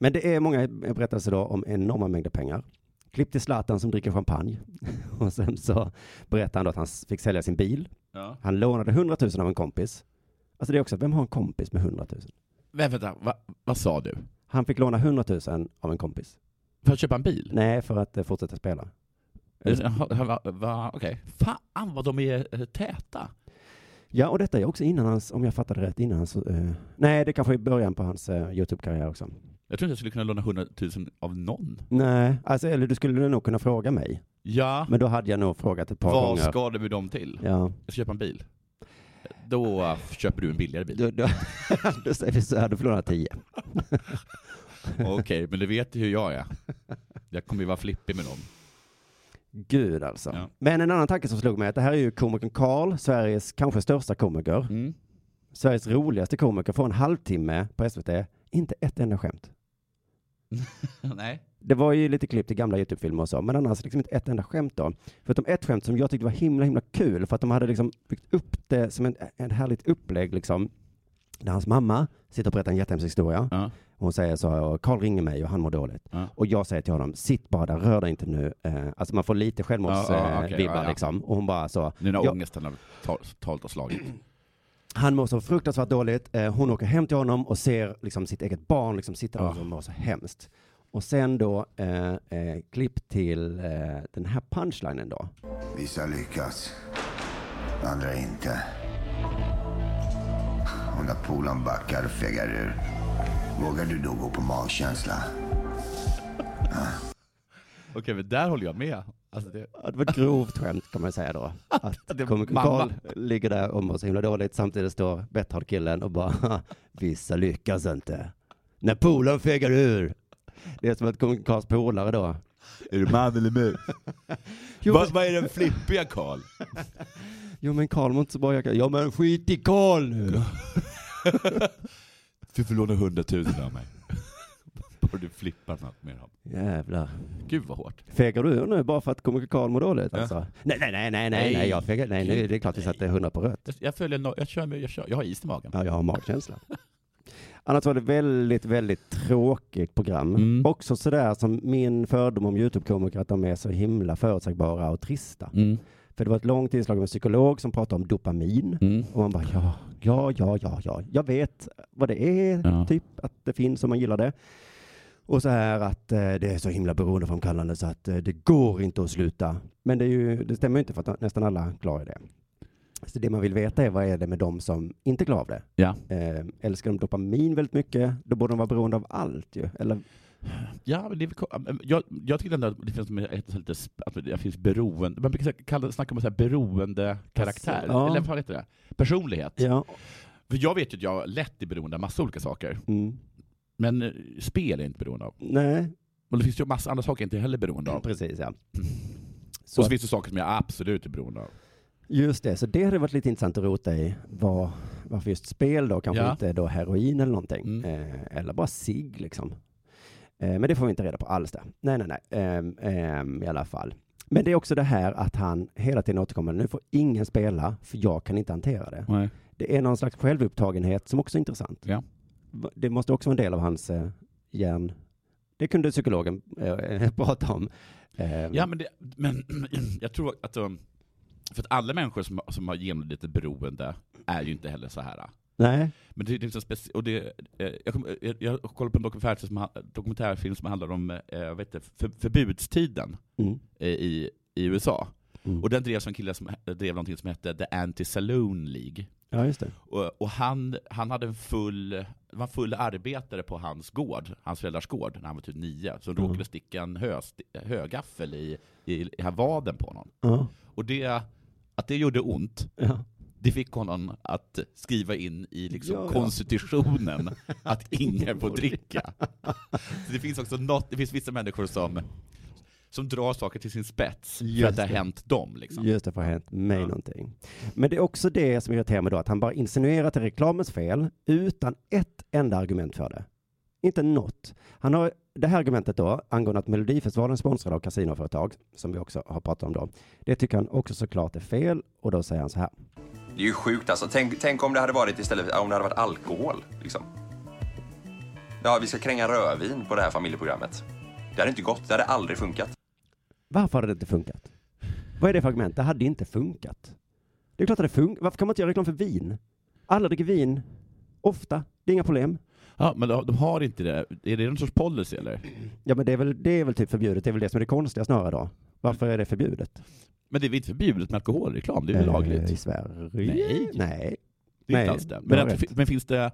S4: Men det är många berättelser då om enorma mängder pengar. Klipp till Zlatan som dricker champagne. [laughs] Och sen så berättar han då att han fick sälja sin bil.
S3: Ja.
S4: Han lånade 100 000 av en kompis. Alltså det är också, vem har en kompis med 100 000?
S3: Men vänta, va, vad sa du?
S4: Han fick låna 100 000 av en kompis.
S3: För att köpa en bil?
S4: Nej, för att eh, fortsätta spela. Mm.
S3: Jaha, va, va, Okej. Fan vad de är eh, täta.
S4: Ja, och detta är också innan hans, om jag fattade rätt, innan hans... Eh... Nej, det kanske är i början på hans eh, YouTube-karriär också.
S3: Jag tror inte jag skulle kunna låna 100 000 av någon.
S4: Nej, alltså, eller du skulle nog kunna fråga mig.
S3: Ja,
S4: Men då hade jag nog frågat ett par
S3: vad
S4: gånger.
S3: ska du med dem till?
S4: Ja,
S3: Jag ska köpa en bil. Då eh, köper du en billigare bil.
S4: då, då, [laughs] då säger vi så här, du förlorar 10.
S3: [laughs] Okej, men du vet ju hur jag är. Jag kommer ju vara flippig med dem.
S4: Gud alltså.
S3: Ja.
S4: Men en annan tanke som slog mig är att det här är ju komikern Karl, Sveriges kanske största komiker,
S3: Mm.
S4: Sveriges roligaste komiker, får en halvtimme på SVT, inte ett enda skämt.
S3: Nej.
S4: det var ju lite klipp till gamla YouTube-filmer och så, men annars liksom inte ett enda skämt då. Förutom ett skämt som jag tyckte var himla, himla kul, för att de hade liksom byggt upp det som en, en härligt upplägg liksom. Där hans mamma sitter och berättar en jättehemsk historia.
S3: Ja.
S4: Hon säger så här, Karl ringer mig och han mår dåligt.
S3: Ja.
S4: Och jag säger till honom, sitt bara där, rör dig inte nu. Eh, alltså man får
S3: Ja,
S4: lite
S3: ja,
S4: självmordsvibbar
S3: okej,
S4: vibbar
S3: ja, ja.
S4: liksom. Och hon bara så,
S3: Nu när
S4: Ja.
S3: ångesten har tal- totalt har [clears throat] slagit.
S4: han mår så fruktansvärt dåligt. Eh, hon åker hem till honom och ser liksom sitt eget barn liksom sitta där
S3: Ah.
S4: och mår så hemskt. Och sen då, eh, eh, klipp till eh, den här punchlinen då.
S7: Vissa lyckas, andra inte. Och när polaren backar och fegar ur, vågar du då gå på magkänsla?
S3: Okej, men där håller jag med. Alltså det,
S4: Ja, Det var ett grovt skämt kan man säga då. Att [laughs]
S3: det var
S4: komikern
S3: mamma.
S4: Karl ligger där och mår så himla dåligt. Samtidigt står Betthard-killen och bara vissa lyckas inte. När polaren fegar ur. Det är som att komikern Karls polare då.
S3: är du man eller [laughs] mus?
S4: Jo,
S3: Vad vad är den flippiga Karl?
S4: Jo men Karl mår inte så bra. Jag kan... Ja men skit i Karl nu.
S3: Du får låna hundratusen av [laughs] mig. Bara du flippar något med dem.
S4: Jävlar.
S3: Gud vad hårt.
S4: Fegar du ur nu bara för att komikern Karl mår dåligt
S3: Ja.
S4: alltså? Nej, nej, nej, nej, nej, nej, jag fegar, nej, nej, det är klart vi satte hundra på rött.
S3: Jag, jag följer no- jag kör med, jag kör, jag har is i magen.
S4: Ja, jag
S3: [laughs]
S4: har magkänsla. Annars var det väldigt, väldigt tråkigt program.
S3: Mm.
S4: Också sådär som min fördom om YouTube-komiker, att de är så himla förutsägbara och trista.
S3: Mm.
S4: För det var ett långt inslag med en psykolog som pratade om dopamin.
S3: Mm.
S4: Och man bara, ja, ja, ja, ja, ja, jag vet vad det är,
S3: Ja.
S4: typ, att det finns om man gillar det. Och så här att eh, det är så himla beroendeframkallande så att eh, det går inte att sluta. Men det, är ju, det stämmer ju inte för att nästan alla klarar det. Så det man vill veta är vad är det med de som inte klarar av det?
S3: Ja.
S4: Eh, älskar de dopamin väldigt mycket, då borde de vara beroende av allt ju. Eller,
S3: Ja, men det är, väl ko- jag, jag tycker ändå att det finns, ett, lite, sp- att det finns beroende, man brukar säga- kalla, snacka om så här beroende karaktär,
S4: Ja.
S3: eller vad heter det? Personlighet.
S4: ja.
S3: För jag vet ju att jag lätt är beroende av massa olika saker,
S4: Mm.
S3: men eh, spel är jag inte beroende av.
S4: Nej,
S3: Och det finns ju massa andra saker jag inte heller är beroende av.
S4: Mm, precis ja.
S3: Och så finns det saker som jag absolut är beroende av.
S4: Just det, så det hade varit lite intressant att rota i. Var, varför just spel då, kanske
S3: Ja.
S4: inte då heroin eller någonting.
S3: Mm.
S4: Eh, eller bara sig liksom. Eh, men det får vi inte reda på alls där. Nej, nej, nej. Ehm, ehm, I alla fall. Men det är också det här att han hela tiden återkommer, nu får ingen spela, för jag kan inte hantera det.
S3: Nej.
S4: Det är någon slags självupptagenhet som också är intressant.
S3: Ja.
S4: Va- Det måste också vara en del av hans eh, hjärn. Det kunde psykologen eh, [laughs] prata om. Ehm,
S3: Ja, men, det, men [clears throat] jag tror att... um, För att alla människor som, som har genomlidit ett beroende är ju inte heller så här.
S4: Nej,
S3: Men det, det är så speci- och det, eh, jag, kom, eh, jag kollade på en dokumentär som, ha- dokumentärfilm som handlar om eh, vet inte, för, förbudstiden
S4: mm.
S3: eh, i, i USA.
S4: Mm.
S3: Och den drevs av en kille som he- drev någonting som hette The Anti-Saloon League.
S4: ja just det.
S3: Och, och han, han hade en full, det var en full arbetare på hans gård, hans föräldrars gård, när han var typ nio, som råkade sticka en hö, högaffel i, i, i här vaden på honom.
S4: Ja,
S3: Och det, att det gjorde ont,
S4: ja.
S3: det fick honom att skriva in i liksom
S4: Ja, ja. [laughs]
S3: konstitutionen att ingen får dricka. Så det finns också något, det finns vissa människor som, som drar saker till sin spets för att det har hänt dem. Liksom.
S4: Just det, för det har hänt mig någonting. Men det är också det som irriterar mig då, att han bara insinuerar att det är reklamens fel utan ett enda argument för det. Inte något. Han har det här argumentet då, angående att Melodifestivalen sponsrar av kasinoföretag, som vi också har pratat om då, det tycker han också såklart är fel och då säger han så här.
S1: Det är ju sjukt alltså. Tänk, tänk om det hade varit istället om det hade varit alkohol. Liksom. Ja, vi ska kränga rödvin på det här familjeprogrammet. Det hade inte gått. Det hade aldrig funkat.
S4: Varför hade det inte funkat? Vad är det för argument? Det hade inte funkat. Det är klart att det funkar. Varför kan man inte göra reklam för vin? Alla dricker vin, ofta, det är inga problem.
S3: Ja, men de de har inte det. Är det någon sorts policy eller?
S4: Ja men det är väl, det är väl typ förbjudet, det är väl det som är det konstiga snarare då. Varför är det förbjudet?
S3: Men det är väl inte förbjudet med alkoholreklam? Det är väl
S4: Eh,
S3: lagligt?
S4: I Sverige?
S3: Nej.
S4: Nej.
S3: Det är
S4: Nej,
S3: inte alls det.
S4: du
S3: Men,
S4: har
S3: att,
S4: rätt.
S3: men finns det... eh,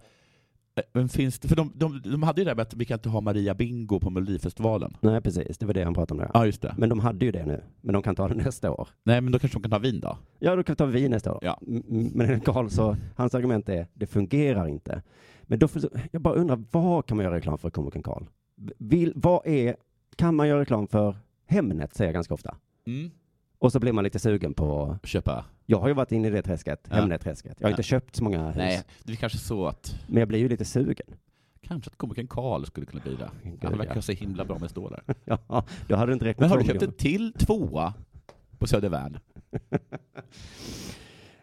S3: Men finns det för de, de, de hade ju det här med att vi kan inte ha Maria Bingo på Melodifestivalen.
S4: Nej, precis. Det var det han pratade om. Där.
S3: Ja, just det.
S4: Men de hade ju det nu. Men de kan ta det nästa år.
S3: Nej, men då kanske de kan ta vin då?
S4: Ja, då kan vi ta vin nästa år.
S3: Ja.
S4: M- m- Men [laughs] Karl, så hans argument är det fungerar inte. Men då, förs- jag bara undrar, vad kan man göra reklam för komikern Karl? V- Vill, vad är, kan man göra reklam för Hemnet, säger jag ganska ofta.
S3: Mm.
S4: Och så blir man lite sugen på,
S3: Köpa?
S4: jag har ju varit inne i det träsket,
S3: Ja.
S4: Hemnet-träsket. Jag har inte köpt så många hus.
S3: Nej, det är kanske så att...
S4: Men jag blir ju lite sugen.
S3: Kanske att komikern Karl skulle kunna bli det. Han verkar så himla bra med
S4: [laughs]
S3: stålar.
S4: Ja, då hade du inte räknat
S3: Men har du
S4: två
S3: köpt en
S4: miljoner.
S3: till tvåa på Södervärn?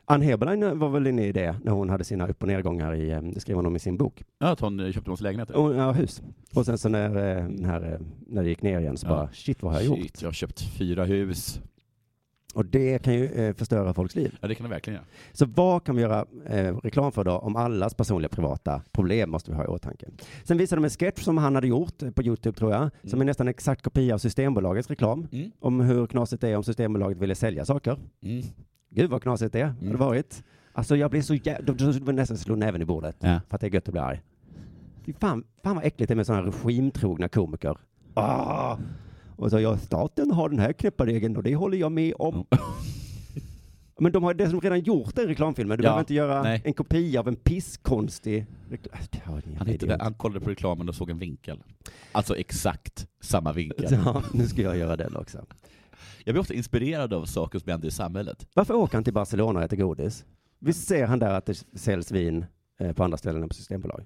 S4: Ann Heberlein eh, var väl inne i det när hon hade sina upp och nedgångar i, eh, det skrev hon om i sin bok,
S3: Ja, att hon eh, köpte någons lägenhet.
S4: och, ja, hus. Och sen så när, eh, den här, eh, när det gick ner igen så
S3: Ja.
S4: bara, shit vad har jag gjort?
S3: Shit, jag har köpt fyra hus.
S4: Och det kan ju eh, förstöra folks liv.
S3: Ja, det kan jag verkligen göra.
S4: Så vad kan vi göra eh, reklam för då om allas personliga privata problem måste vi ha i åtanke. Sen visade de en sketch som han hade gjort eh, på Youtube tror jag, som är nästan en exakt kopia av Systembolagets reklam
S3: Mm.
S4: om hur knasigt det är om Systembolaget ville sälja saker.
S3: Mm.
S4: Gud vad knasigt det hade varit. Alltså jag blir så jävla, det var nästan slå näven i bordet
S3: Ja.
S4: för att det är gött att bli arg. Fy Fan, fan vad äckligt det är med sådana regimtrogna komiker. Ah! Och så, ja, staten har den här knäpparegeln och det håller jag med om. [laughs] Men de har dessutom redan gjort den reklamfilmen. Du
S3: Ja,
S4: behöver inte göra
S3: nej.
S4: en kopia av en pisskonstig reklam. Ja, ni
S3: Han, hittade,
S4: idiot.
S3: han kollade på reklamen och såg en vinkel. Alltså exakt samma vinkel.
S4: [laughs] Ja, nu ska jag göra den också.
S3: Jag blir ofta inspirerad av saker som händer i samhället.
S4: Varför åker han till Barcelona och äter godis? Visst ser han där att det säljs vin eh, på andra ställen än på Systembolag?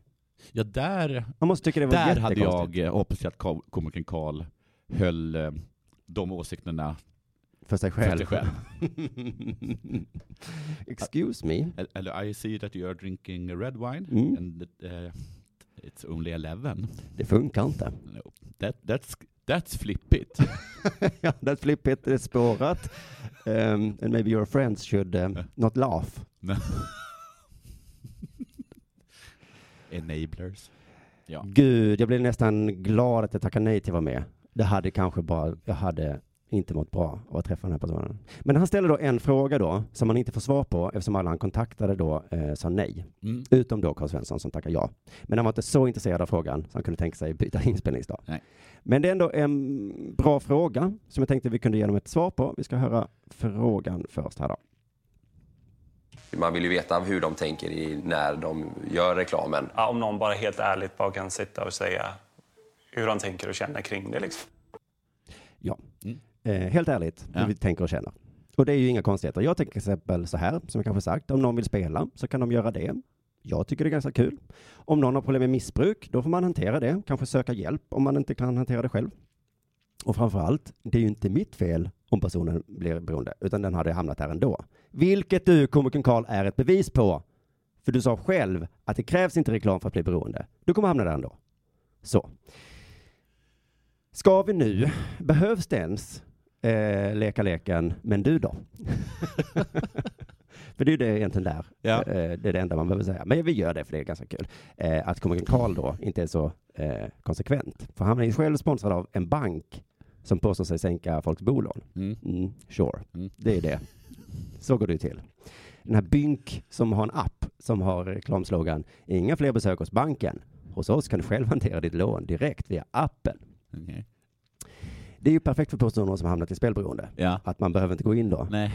S3: Ja, där,
S4: Man måste tycka det var
S3: där hade
S4: jättekonstigt.
S3: jag eh, hoppats att Karl- komikern Karl höll eh, de åsikterna
S4: För sig
S3: för
S4: själv.
S3: sig själv.
S4: [laughs] Excuse me.
S3: Eller- Eller I see that you are drinking red wine
S4: Mm.
S3: and eh, it's only 11.
S4: Det funkar inte.
S3: No. That, that's, that's flippigt.
S4: [laughs] ja, that's flippigt, det är spårat. Um, and maybe your friends should um, not laugh.
S3: [laughs] Enablers. Ja.
S4: Gud, jag blev nästan glad att jag tackade nej till att vara med. Det hade kanske bara, jag hade inte mått bra av att träffa den här personen. Men han ställde då en fråga då, som han inte får svar på eftersom alla han kontaktade då eh, sa nej.
S3: Mm.
S4: Utom då Karl Svensson som tackade ja. Men han var inte så intresserad av frågan så han kunde tänka sig byta [laughs] inspelningsdag.
S3: Nej.
S4: Men det är ändå en bra fråga som jag tänkte vi kunde ge dem ett svar på. Vi ska höra frågan först här då.
S1: Man vill ju veta hur de tänker i, när de gör reklamen.
S6: Ja, om någon bara helt ärligt bara kan sitta och säga hur de tänker och känner kring det. Liksom.
S4: Ja.
S3: Mm.
S4: Eh, helt ärligt,
S3: Ja.
S4: hur vi tänker och känner. Och det är ju inga konstigheter. Jag tänker till exempel så här, som jag kanske sagt, om någon vill spela så kan de göra det. Jag tycker det är ganska kul. Om någon har problem med missbruk, då får man hantera det. Kanske söka hjälp om man inte kan hantera det själv. Och framför allt, det är ju inte mitt fel om personen blir beroende, utan den hade hamnat där ändå. Vilket du, komikern Karl, är ett bevis på. För du sa själv att det krävs inte reklam för att bli beroende. Du kommer hamna där ändå. Så. Ska vi nu, behövs det ens eh, leka leken, men du då? [laughs] för det är ju det egentligen där.
S3: Ja.
S4: Eh, det är det enda man behöver säga. Men vi gör det för det är ganska kul. Eh, att komikern Karl då inte är så eh, konsekvent. För han är ju själv sponsrad av en bank som påstår sig sänka folks bolån.
S3: Mm.
S4: Mm, sure,
S3: Mm.
S4: det är det. Så går det ju till. Den här Bynk som har en app som har reklamslogan Inga fler besök hos banken. Hos oss kan du själv hantera ditt lån direkt via appen.
S3: Okej.
S4: Det är ju perfekt för personer som hamnat i spelberoende.
S3: Ja.
S4: Att man behöver inte gå in då
S3: Nej.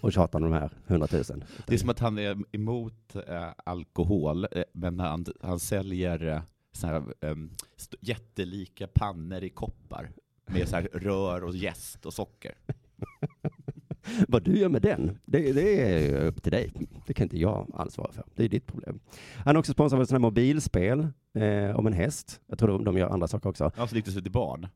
S4: och tjata om de här hundratusen.
S3: Det är som att han är emot eh, alkohol, eh, men han, han säljer eh, såna här, ehm, st- jättelika pannor i koppar med så här rör och jäst och socker.
S4: Vad du gör med den, det, det är ju upp till dig. Det kan inte jag ansvara för. Det är ditt problem. Han är också sponsrad av ett sånt här mobilspel eh, om en häst. Jag tror de, de gör andra saker också.
S3: Alltså riktigt till barn.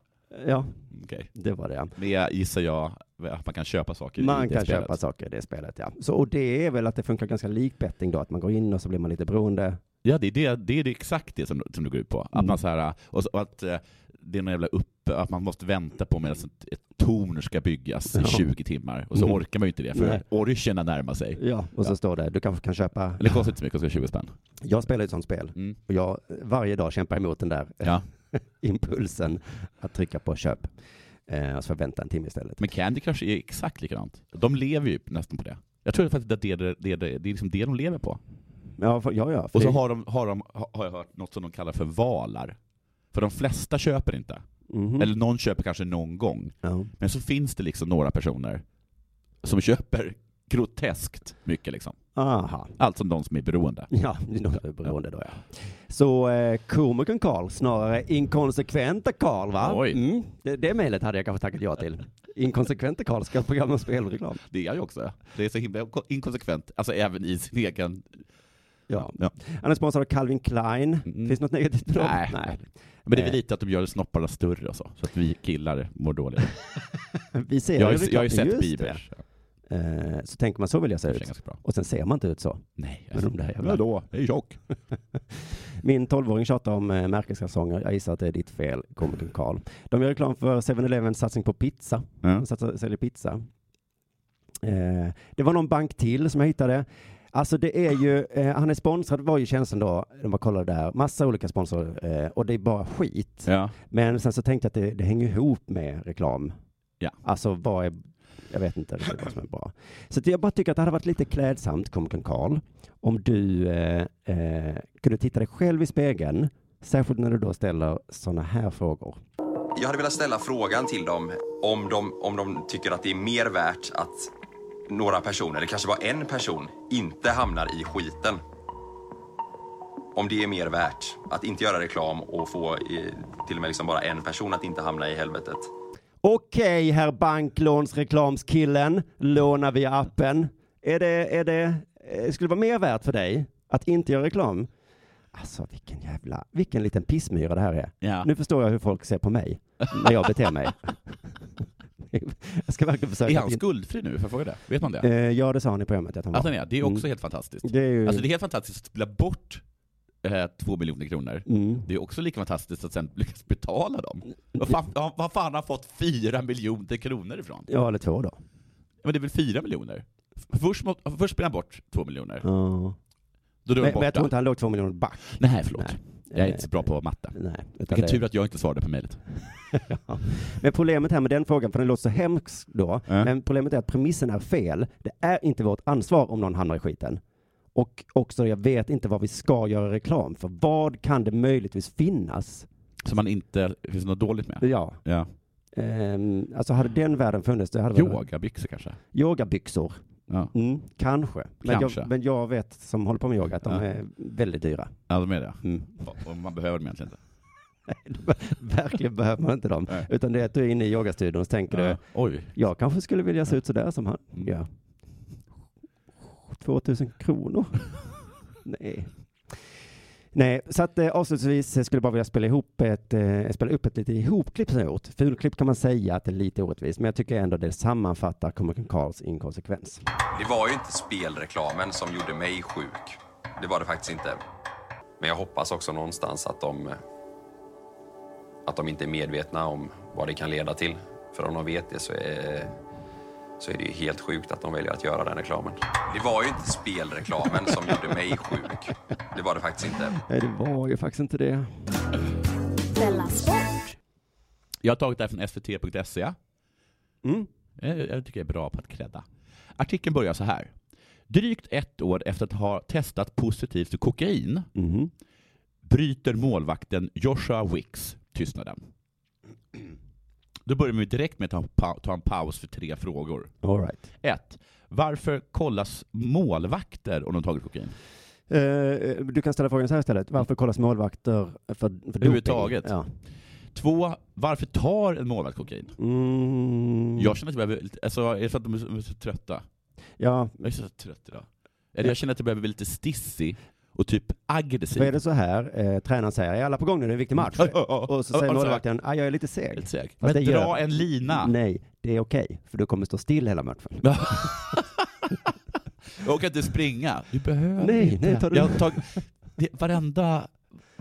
S4: Ja,
S3: Okej.
S4: det var det. ja.
S3: Men jag gissar jag att man kan köpa saker i
S4: Man
S3: det
S4: kan
S3: spelet.
S4: köpa saker i det spelet, ja. Så, och det är väl att det funkar ganska likt betting då, att man går in och så blir man lite beroende.
S3: Ja, det är, det, det är det exakt det som, som du går ut på. Att
S4: Mm.
S3: man så här, och, så, och att eh, det är någon jävla upp, att man måste vänta på medan ett, ett torn ska byggas
S4: Ja.
S3: i 20 timmar. Och så
S4: Mm.
S3: orkar man ju inte det,
S4: Nej.
S3: för orcherna närmar sig.
S4: Ja, och så står det, du kanske kan köpa.
S3: Men det kostar inte så mycket, det kostar 20 spänn.
S4: [laughs] Jag spelar ju ett sånt spel
S3: Mm.
S4: och jag varje dag kämpar emot den där eh,
S3: Ja.
S4: [laughs] impulsen att trycka på köp. Eh, och så får jag vänta en timme istället.
S3: Men Candy Crush är exakt likadant. De lever ju nästan på det. Jag tror faktiskt att det är det, det, det, det, är liksom det de lever på.
S4: Ja, för, ja, ja. för
S3: Och så
S4: det-
S3: har, de, har, de, har jag hört något som de kallar för valar. För de flesta köper inte.
S4: Mhm.
S3: Eller någon köper kanske någon gång.
S4: ja.
S3: Men så finns det liksom några personer som köper [laughs] groteskt mycket liksom.
S4: Aha.
S3: Alltså de som är beroende.
S4: Ja, det är något beroende då ja. Så eh, komikern Karl, snarare inkonsekventa Karl va?
S3: Oj.
S4: Mm, det, det mejlet hade jag kanske tackat ja till. Inkonsekventa Karl ska ha ett program om spelreklam.
S3: Det är jag ju också. Det är så himla inkonsekvent. Alltså även i sin egen
S4: Ja.
S3: Ja.
S4: Han är sponsrad av Calvin Klein.
S3: Mm.
S4: Finns det något negativt med dem?
S3: Nej. Men det är väl lite att de gör snopparna större och så, så att vi killar mår [laughs] dåligt.
S4: [laughs] Vi ser
S3: Jag har
S4: det
S3: ju,
S4: reklam-
S3: jag har ju sett
S4: just
S3: Bieber.
S4: det. Eh, Så tänker man, så vill jag se
S3: Det är
S4: ut.
S3: ganska bra.
S4: Och sen ser man inte ut så.
S3: Nej,
S4: Men de där jävla-
S3: då? Jag är tjock.
S4: Min tolvåring tjatar om eh, märkeskalsonger. Jag gissar att det är ditt fel, komikern Karl. De gör reklam för 7-Elevens satsning på pizza.
S3: Ja.
S4: De satsar, säljer pizza. Eh, det var någon bank till som jag hittade. Alltså det är ju, eh, han är sponsrad var ju tjänsten då, de bara kollade där, massa olika sponsorer eh, och det är bara skit.
S3: Ja.
S4: Men sen så tänkte jag att det, det hänger ihop med reklam.
S3: Ja.
S4: Alltså vad är, jag vet inte riktigt vad som är bra. Så att jag bara tycker att det hade varit lite klädsamt, komikern Karl, om du eh, eh, kunde titta dig själv i spegeln, särskilt när du då ställer sådana här frågor.
S1: Jag hade velat ställa frågan till dem om de, om de tycker att det är mer värt att några personer, eller kanske bara en person, inte hamnar i skiten. Om det är mer värt att inte göra reklam och få eh, till och med liksom bara en person att inte hamna i helvetet.
S4: Okej, herr banklånsreklamskillen, låna via appen. Är det, är det, eh, skulle det vara mer värt för dig att inte göra reklam? Alltså vilken jävla, vilken liten pissmyra det här är.
S3: Ja.
S4: Nu förstår jag hur folk ser på mig när jag beter mig. [laughs] jag ska verkligen försöka.
S3: Är
S4: att
S3: han skuldfri nu? Får jag fråga det? Vet man det?
S4: inte- Eh, ja, det sa han i programmet att han var.
S3: Att han är? Det är också
S4: Mm.
S3: helt fantastiskt.
S4: Det är ju...
S3: Alltså det är helt fantastiskt att spela bort eh, två miljoner kronor.
S4: mm.
S3: Det är också lika fantastiskt att sen lyckas betala dem. Vad fan, ja, vad fan har fått fyra miljoner kronor ifrån?
S4: Ja, eller två då.
S3: Men det är väl fyra miljoner? F- Först, må- först spelar han bort två miljoner,
S4: Ja.
S3: då är de
S4: Men, men jag tror inte
S3: borta.
S4: han låg två miljoner back.
S3: Nej, förlåt.
S4: Nej.
S3: Jag är inte så bra på matte.
S4: Nej, utan
S3: Vilken
S4: det-
S3: tur att jag inte svarade på mejlet.
S4: Ja. Men problemet här med den frågan, för den låter så hemsk då,
S3: Ja.
S4: men problemet är att premissen är fel. Det är inte vårt ansvar om någon hamnar i skiten. Och också, jag vet inte vad vi ska göra reklam för. Vad kan det möjligtvis finnas?
S3: Som man inte, det finns något dåligt med.
S4: Ja.
S3: Ja.
S4: Ehm, alltså hade den världen funnits, det hade varit
S3: Yogabyxor kanske?
S4: yogabyxor.
S3: Ja.
S4: Mm, kanske. Men,
S3: Kanske.
S4: Jag, men jag vet som håller på med yoga att de
S3: Ja.
S4: är väldigt dyra.
S3: ja, de är det.
S4: Mm. [laughs]
S3: Och man behöver dem egentligen inte.
S4: Verkligen behöver man inte dem.
S3: Nej.
S4: Utan det är att du är inne i yogastudion och så tänker du,
S3: Ja. Oj.
S4: Jag kanske skulle vilja se ut sådär som han.
S3: Mm.
S4: Ja. 2000 [laughs] kronor? Nej. Nej, så att eh, avslutningsvis eh, skulle jag bara vilja spela ihop ett, eh, spela upp ett lite ihopklipp som jag gjort. Fulklipp kan man säga att det är lite orättvist, men jag tycker ändå det sammanfattar komikern Karls inkonsekvens.
S1: Det var ju inte spelreklamen som gjorde mig sjuk. Det var det faktiskt inte. Men jag hoppas också någonstans att de, att de inte är medvetna om vad det kan leda till. För om de vet det så är, så är det ju helt sjukt att de väljer att göra den reklamen. Det var ju inte spelreklamen som gjorde mig sjuk. Det var det faktiskt inte.
S4: Nej, det var ju faktiskt inte det.
S2: Della Sport.
S3: Jag har tagit det här från svt.se.
S4: Mm.
S3: Jag, E. Eh, jag tycker jag är bra på att credda. Artikeln börjar så här. Drygt ett år efter att ha testat positivt för kokain
S4: Mhm.
S3: bryter målvakten Joshua Wicks tystnaden. Då börjar vi direkt med att ta, ta en paus för tre frågor.
S4: All right.
S3: 1. Varför kollas målvakter om de tagit kokain?
S4: Eh, du kan ställa frågan så här istället. Varför kollas målvakter för, för doping?
S3: Överhuvudtaget.
S4: Ja.
S3: 2. Varför tar en målvakt kokain?
S4: Mm.
S3: Jag känner att jag behöver, lite- alltså, är det för att de är så- de är så trötta?
S4: ja,
S3: Jag är så trött idag. Eller jag känner att jag behöver bli lite stissig och typ aggressiv.
S4: Då är det så här, eh, tränaren säger, är alla på gång nu, det är en viktig match.
S3: [laughs] Ja, ja, ja.
S4: Och så
S3: Ja,
S4: säger
S3: alltså,
S4: målvakten, "Ah, jag är lite seg.
S3: Helt säkert.
S4: Fast
S3: Men
S4: det
S3: dra
S4: gör-
S3: en lina!
S4: Nej, det är okej, för du kommer stå still hela matchen.
S3: Jag orkar inte springa. Du behöver
S4: Nej,
S3: inte.
S4: nej, tar du-
S3: Jag har tagit- det, varenda,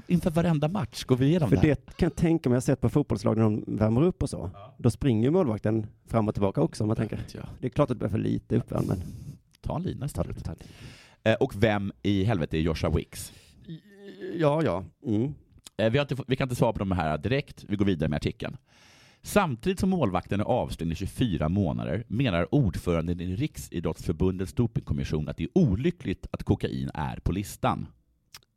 S3: inför varenda match går vi igenom
S4: För
S3: det här.
S4: det kan jag tänka mig, jag har sett på fotbollslag när de värmer upp och så. Då springer ju målvakten fram och tillbaka också, om man tänker.
S3: Ja,
S4: Det är klart att det är för lite uppvärmd, men
S3: Ta en lina
S4: ta det,
S3: istället.
S4: ta det.
S3: Eh, Och vem i helvete är Joshua Wicks?
S4: Ja, ja. Mm.
S3: Eh, Vi, har inte, fått- vi kan inte svara på de här direkt, vi går vidare med artikeln. Samtidigt som målvakten är avstängd i 24 månader menar ordföranden i Riksidrottsförbundets dopingkommission att det är olyckligt att kokain är på listan.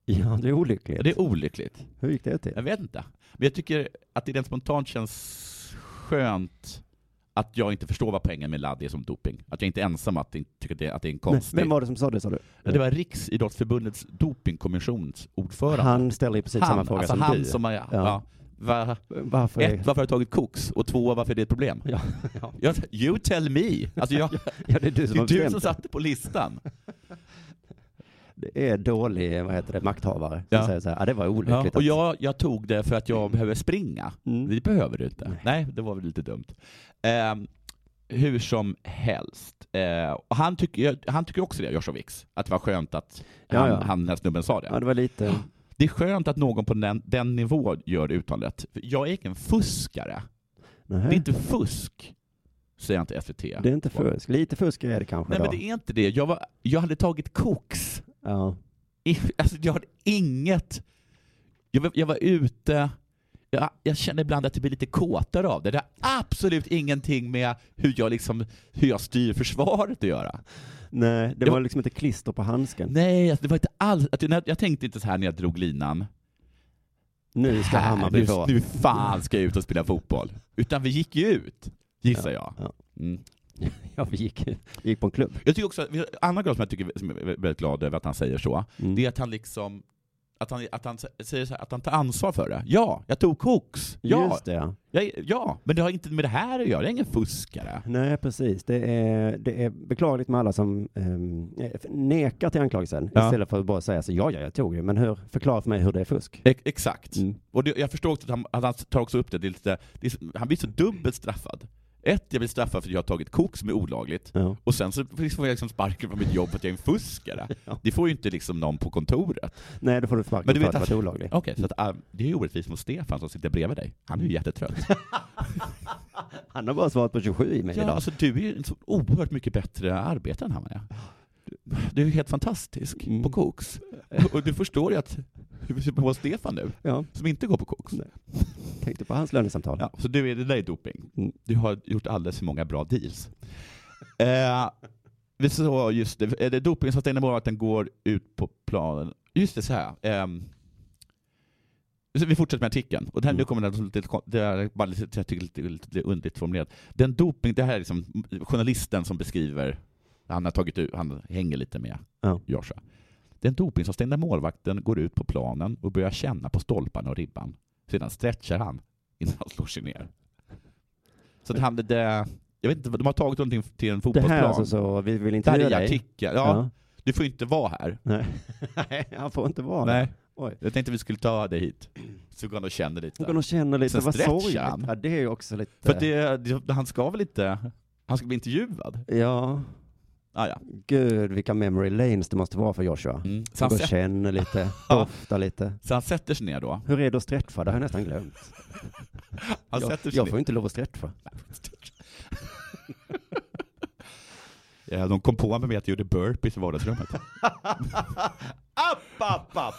S4: Ja, det är
S3: Ja,
S4: olyckligt.
S3: Det är olyckligt.
S4: Hur gick det till?
S3: Jag vet inte. Men jag tycker att det rent spontant känns skönt att jag inte förstår vad poängen med ladd är som doping. Att jag inte är ensam att inte tycka att det, att det är en
S4: Nej,
S3: konstig...
S4: Vem var det som sa det, sa du?
S3: Ja, Det var Riksidrottsförbundets dopingkommissions ordförande.
S4: Han ställer i precis samma fråga
S3: alltså
S4: som
S3: han
S4: du.
S3: som har... Ja.
S4: Ja.
S3: Va,
S4: Varför? är-
S3: ett, varför har jag tagit koks? Och två, varför är det ett problem?
S4: Ja, [laughs] ja.
S3: Jag, you tell me! Alltså jag,
S4: ja, det är du
S3: det
S4: som
S3: är
S4: har
S3: du
S4: bestämt
S3: som satte på listan.
S4: det. är dålig, vad heter det, makthavare. Som
S3: Ja.
S4: säger så här, ah, det var
S3: Ja,
S4: olyckligt.
S3: och
S4: att- Mm.
S3: jag, jag tog det för att jag behöver springa. Det behöver du inte. Nej, det var väl lite dumt. Ehm, hur som helst. Eh, och han, tycker, han tycker också det, Joshua Wicks. Att det var skönt att
S4: Ja,
S3: han,
S4: ja.
S3: han, den här snubben sa det.
S4: ja, det var lite...
S3: Det är skönt att någon på den, den nivån gör uttalet. För Jag är ingen fuskare.
S4: Nähä.
S3: Det är inte fusk, säger jag till SVT.
S4: Det är inte fusk. Lite fusk är det kanske
S3: Nej,
S4: då.
S3: men det är inte det. Jag, var, jag hade tagit koks.
S4: Ja.
S3: I- Alltså, jag hade inget... Jag var, jag var ute... Jag, jag känner ibland att det blir lite kåtare av det. Det har absolut ingenting med hur jag, liksom, hur jag styr försvaret att göra.
S4: Nej, det
S3: Jag-
S4: var liksom inte klister på handsken.
S3: Nej, alltså, det var inte alls... Att, jag, jag tänkte inte så här när jag drog linan.
S4: Nu ska
S3: Här,
S4: Hammarby
S3: nu,
S4: få.
S3: nu fan ska jag ut och spela fotboll. Utan vi gick ju ut, gissar
S4: ja.
S3: jag. Mm.
S4: [laughs] Ja, vi gick, gick på en klubb.
S3: Jag tycker också, en annan grej som jag tycker som jag är väldigt glad över att han säger så,
S4: Mm.
S3: det är att han liksom att han, att han säger så här, att han tar ansvar för det. Ja, jag tog koks. Ja,
S4: Just det, ja.
S3: jag, ja, men det har inte med det här att göra. Jag är ingen fuskare.
S4: Nej, precis. Det är, det är beklagligt med alla som ehm, nekar till anklagelsen
S3: Ja.
S4: istället för att bara säga så ja, ja, jag tog det. Men hur, förklara för mig hur det är fusk.
S3: Ex- exakt.
S4: Mm.
S3: Och det, jag förstår också att han, att han tar också upp det, det, är lite, det är, så- han blir så dubbelt straffad. Ett, jag blir straffad för att jag har tagit koks som är olagligt.
S4: Ja.
S3: Och sen så får jag liksom sparken från mitt jobb för att jag är en [laughs] fuskare.
S4: Ja.
S3: Det får ju inte liksom någon på kontoret.
S4: Nej, då får du sparken
S3: Men du
S4: för
S3: vet
S4: att det
S3: att-
S4: var olagligt.
S3: Okej, så att, ah, det är ju orättvist mot Stefan som sitter bredvid dig. Han är ju jättetrött.
S4: Han har bara svarat på 27 i
S3: [laughs]
S4: mig
S3: Ja,
S4: idag.
S3: alltså du är ju en så oerhört mycket bättre arbetare än han är. Du är ju helt fantastisk
S4: Mm.
S3: på koks. Och du förstår ju att du ser på Stefan nu,
S4: Ja,
S3: som inte går på koks.
S4: Nej. tänkte på hans lönesamtal.
S3: Ja, så du är, det där är doping.
S4: Mm.
S3: Du har gjort alldeles för många bra deals. [laughs] eh, vi såg just det, är det doping som stänger målet att den går ut på planen. Just det, så här. ehm, så vi fortsätter med artikeln. Och det här,
S4: Mm.
S3: Nu kommer den lite, kon- det här är bara lite, jag tycker lite, lite underligt formulerat. Den doping, det här är liksom journalisten som beskriver, han har tagit ut, han hänger lite med
S4: Ja.
S3: Joshua. Den dopingavstängda målvakten går ut på planen och börjar känna på stolparna och ribban. Sedan stretchar han innan han slår sig ner. Så det han, det, jag vet inte, vad- de har tagit honom till- till en
S4: Det
S3: fotbollsplan.
S4: här är alltså så, vi vill
S3: det
S4: inte
S3: här
S4: höra
S3: är i
S4: dig.
S3: artikeln. Ja, Du får inte vara här.
S4: Nej. Nej, han får inte vara där.
S3: Nej.
S4: Oj.
S3: Jag tänkte vi skulle ta dig hit. Så går han och känner
S4: Då
S3: lite.
S4: kan de känna lite,
S3: Sen
S4: vad
S3: stretchar
S4: sorgligt.
S3: han.
S4: Ja, det är ju också lite...
S3: För att det, det, han ska väl inte, han ska bli intervjuad?
S4: Ja,
S3: Ah, ja.
S4: gud vilka memory lanes det måste vara för Joshua.
S3: mm. så,
S4: Han
S3: han
S4: går och
S3: sätter, [laughs]
S4: känner lite, doftar lite.
S3: så han sätter sig ner då.
S4: Hur är det att stretcha? Det har jag nästan glömt.
S3: Han
S4: jag,
S3: sätter sig
S4: jag
S3: ner.
S4: får inte lov att stretcha.
S3: Ja, Eh, de kom på mig med att jag gjorde burpees i vardagsrummet.
S4: [laughs] App, app, app!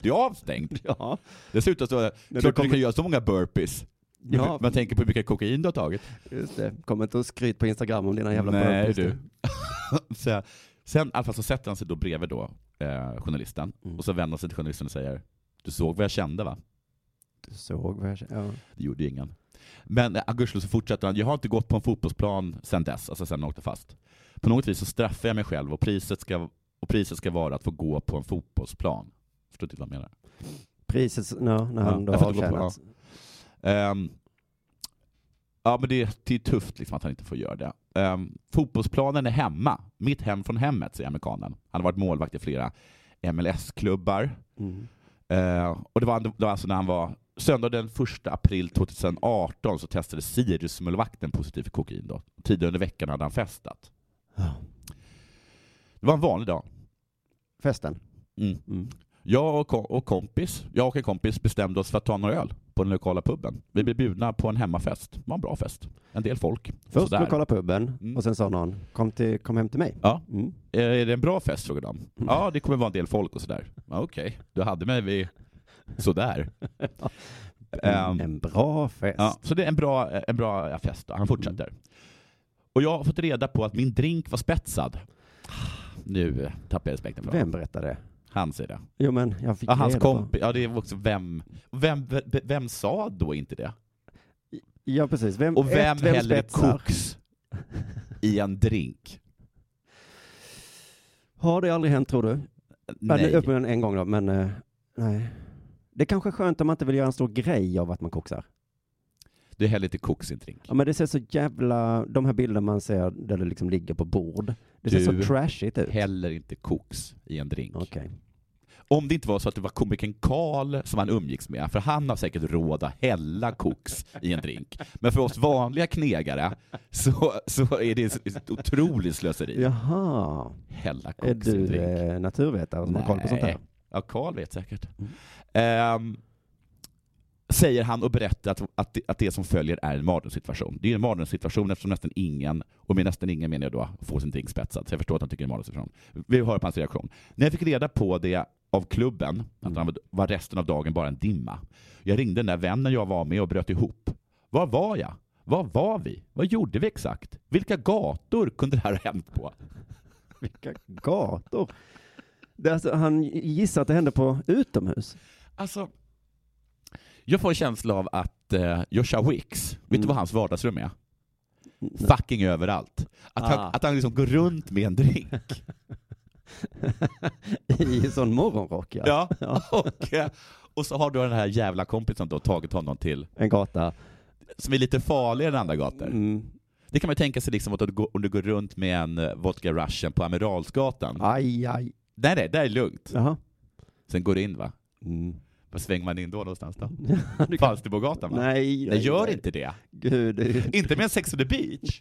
S3: Det är avstängt.
S4: Ja,
S3: Dessutom så,
S4: du
S3: klart
S4: kommer-
S3: du kan göra så många burpees. [laughs]
S4: Ja.
S3: Man tänker på hur mycket kokain du har tagit.
S4: just det. Kom inte och skryt på Instagram om dina jävla
S3: Nej
S4: burpees.
S3: du. så, sen i alla fall så sätter han sig då bredvid då, eh, journalisten,
S4: Mm.
S3: och så vänder han sig till journalisten och säger Du såg vad jag kände va?
S4: Du såg vad jag kände. Ja.
S3: Det gjorde ju ingen. Men eh, gudskelov så fortsätter han, jag har inte gått på en fotbollsplan sen dess, alltså sen jag åkte fast. På något vis så straffar jag mig själv och priset ska, och priset ska vara att få gå på en fotbollsplan. Förstår inte vad jag menar.
S4: Priset, ja, när
S3: Ja,
S4: han då
S3: jag
S4: har
S3: får inte gå på,
S4: avtjänat.
S3: Ehm, ja, men det, det är tufft liksom att han inte får göra det. Ehm, fotbollsplanen är hemma. Mitt hem från hemmet, säger amerikanen. Han har varit målvakt i flera MLS-klubbar.
S4: Mm.
S3: Eh, och det var, det var alltså när han var Söndag den 1 april 2018 så testade Sirius-målvakten positiv för kokain. Då. Tidigare under veckan hade han festat.
S4: Ja.
S3: Det var en vanlig dag.
S4: Festen.
S3: Mm.
S4: Mm.
S3: Jag och, ko- och kompis, jag och en kompis bestämde oss för att ta några öl på den lokala puben.
S4: Mm.
S3: Vi blev bjudna på en hemmafest. Det var en bra fest. En del folk.
S4: Först
S3: Sådär.
S4: lokala puben
S3: Mm.
S4: och sen sa någon, kom, till, kom hem till mig.
S3: Ja.
S4: Mm.
S3: "Eh, Är det en bra fest? frågade de. Ja, det kommer vara en del folk och sådär. Ja, Okej, du hade mig vid sådär.
S4: En,
S3: Ehm,
S4: en bra fest.
S3: Ja, så det är en bra, en bra fest då. Han fortsätter.
S4: Mm.
S3: Och jag har fått reda på att min drink var spetsad. Nu tappar jag respekten för honom.
S4: Vem berättade det?
S3: Han säger det.
S4: Jo men jag fick
S3: Ja, hans
S4: reda på-
S3: kompis, ja det är också vem, vem, vem, vem sa då inte det?
S4: Ja precis. Vem,
S3: Och vem,
S4: ett, vem
S3: häller
S4: spetsar?
S3: koks i en drink?
S4: Har det aldrig hänt tror du? Ja, det är
S3: Nej.
S4: uppenbarligen en gång då, men eh, nej. Det är kanske är skönt om man inte vill göra en stor grej av att man koksar.
S3: Du häller lite koks i en drink.
S4: Ja men det ser så jävla, de här bilderna man ser där det liksom ligger på bord. Det ser
S3: Du-
S4: så trashigt ut. Okej.
S3: Häller inte koks i en drink. Om det inte var så att det var komikern Karl som han umgicks med, för han har säkert råd att hälla koks i en drink. Men för oss vanliga knegare så, så är det ett otroligt slöseri.
S4: Jaha.
S3: Hälla koks
S4: Är
S3: i en
S4: du
S3: drink.
S4: eh, naturvetare som har koll på sånt här? Mm.
S3: Nej. Ja, Karl vet säkert. Ehm, säger han och berättar att, att, det, att det som följer är en mardrömssituation. Det är en mardrömssituation eftersom nästan ingen, och med nästan ingen menar jag då, får sin drink spetsad. Så jag förstår att han tycker det är en mardrömssituation. Vi hör på hans reaktion. När jag fick reda på det av klubben,
S4: Mm.
S3: att han var resten av dagen bara en dimma. Jag ringde den där vännen jag var med och bröt ihop. Var var jag? Var var vi? Vad gjorde vi exakt? Vilka gator kunde det här ha hänt på?
S4: Vilka gator. Det är alltså, han gissar att det hände på utomhus.
S3: Alltså, jag får en känsla av att eh, Joshua Wicks, vet
S4: Mm.
S3: du vad hans vardagsrum är? Fucking överallt. Att han,
S4: Ah.
S3: att han liksom går runt med en drink.
S4: [laughs] I sån morgonrock ja.
S3: Ja. Och, eh, och så har då den här jävla kompisen då tagit honom till,
S4: En gata.
S3: som är lite farligare än andra gator.
S4: Mm.
S3: Det kan man ju tänka sig liksom att du går- om du går runt med en eh, vodka russian på Amiralsgatan.
S4: Aj, aj.
S3: Nej, nej, där är lugnt.
S4: Jaha.
S3: Sen går du in va?
S4: Mm.
S3: Var svänger man in då någonstans
S4: [laughs]
S3: då?
S4: Du kan-
S3: Falsterbogatan va?
S4: Nej,
S3: nej, gör inte det.
S4: Gud,
S3: [laughs]
S4: det är
S3: Inte med en Sex on the Beach.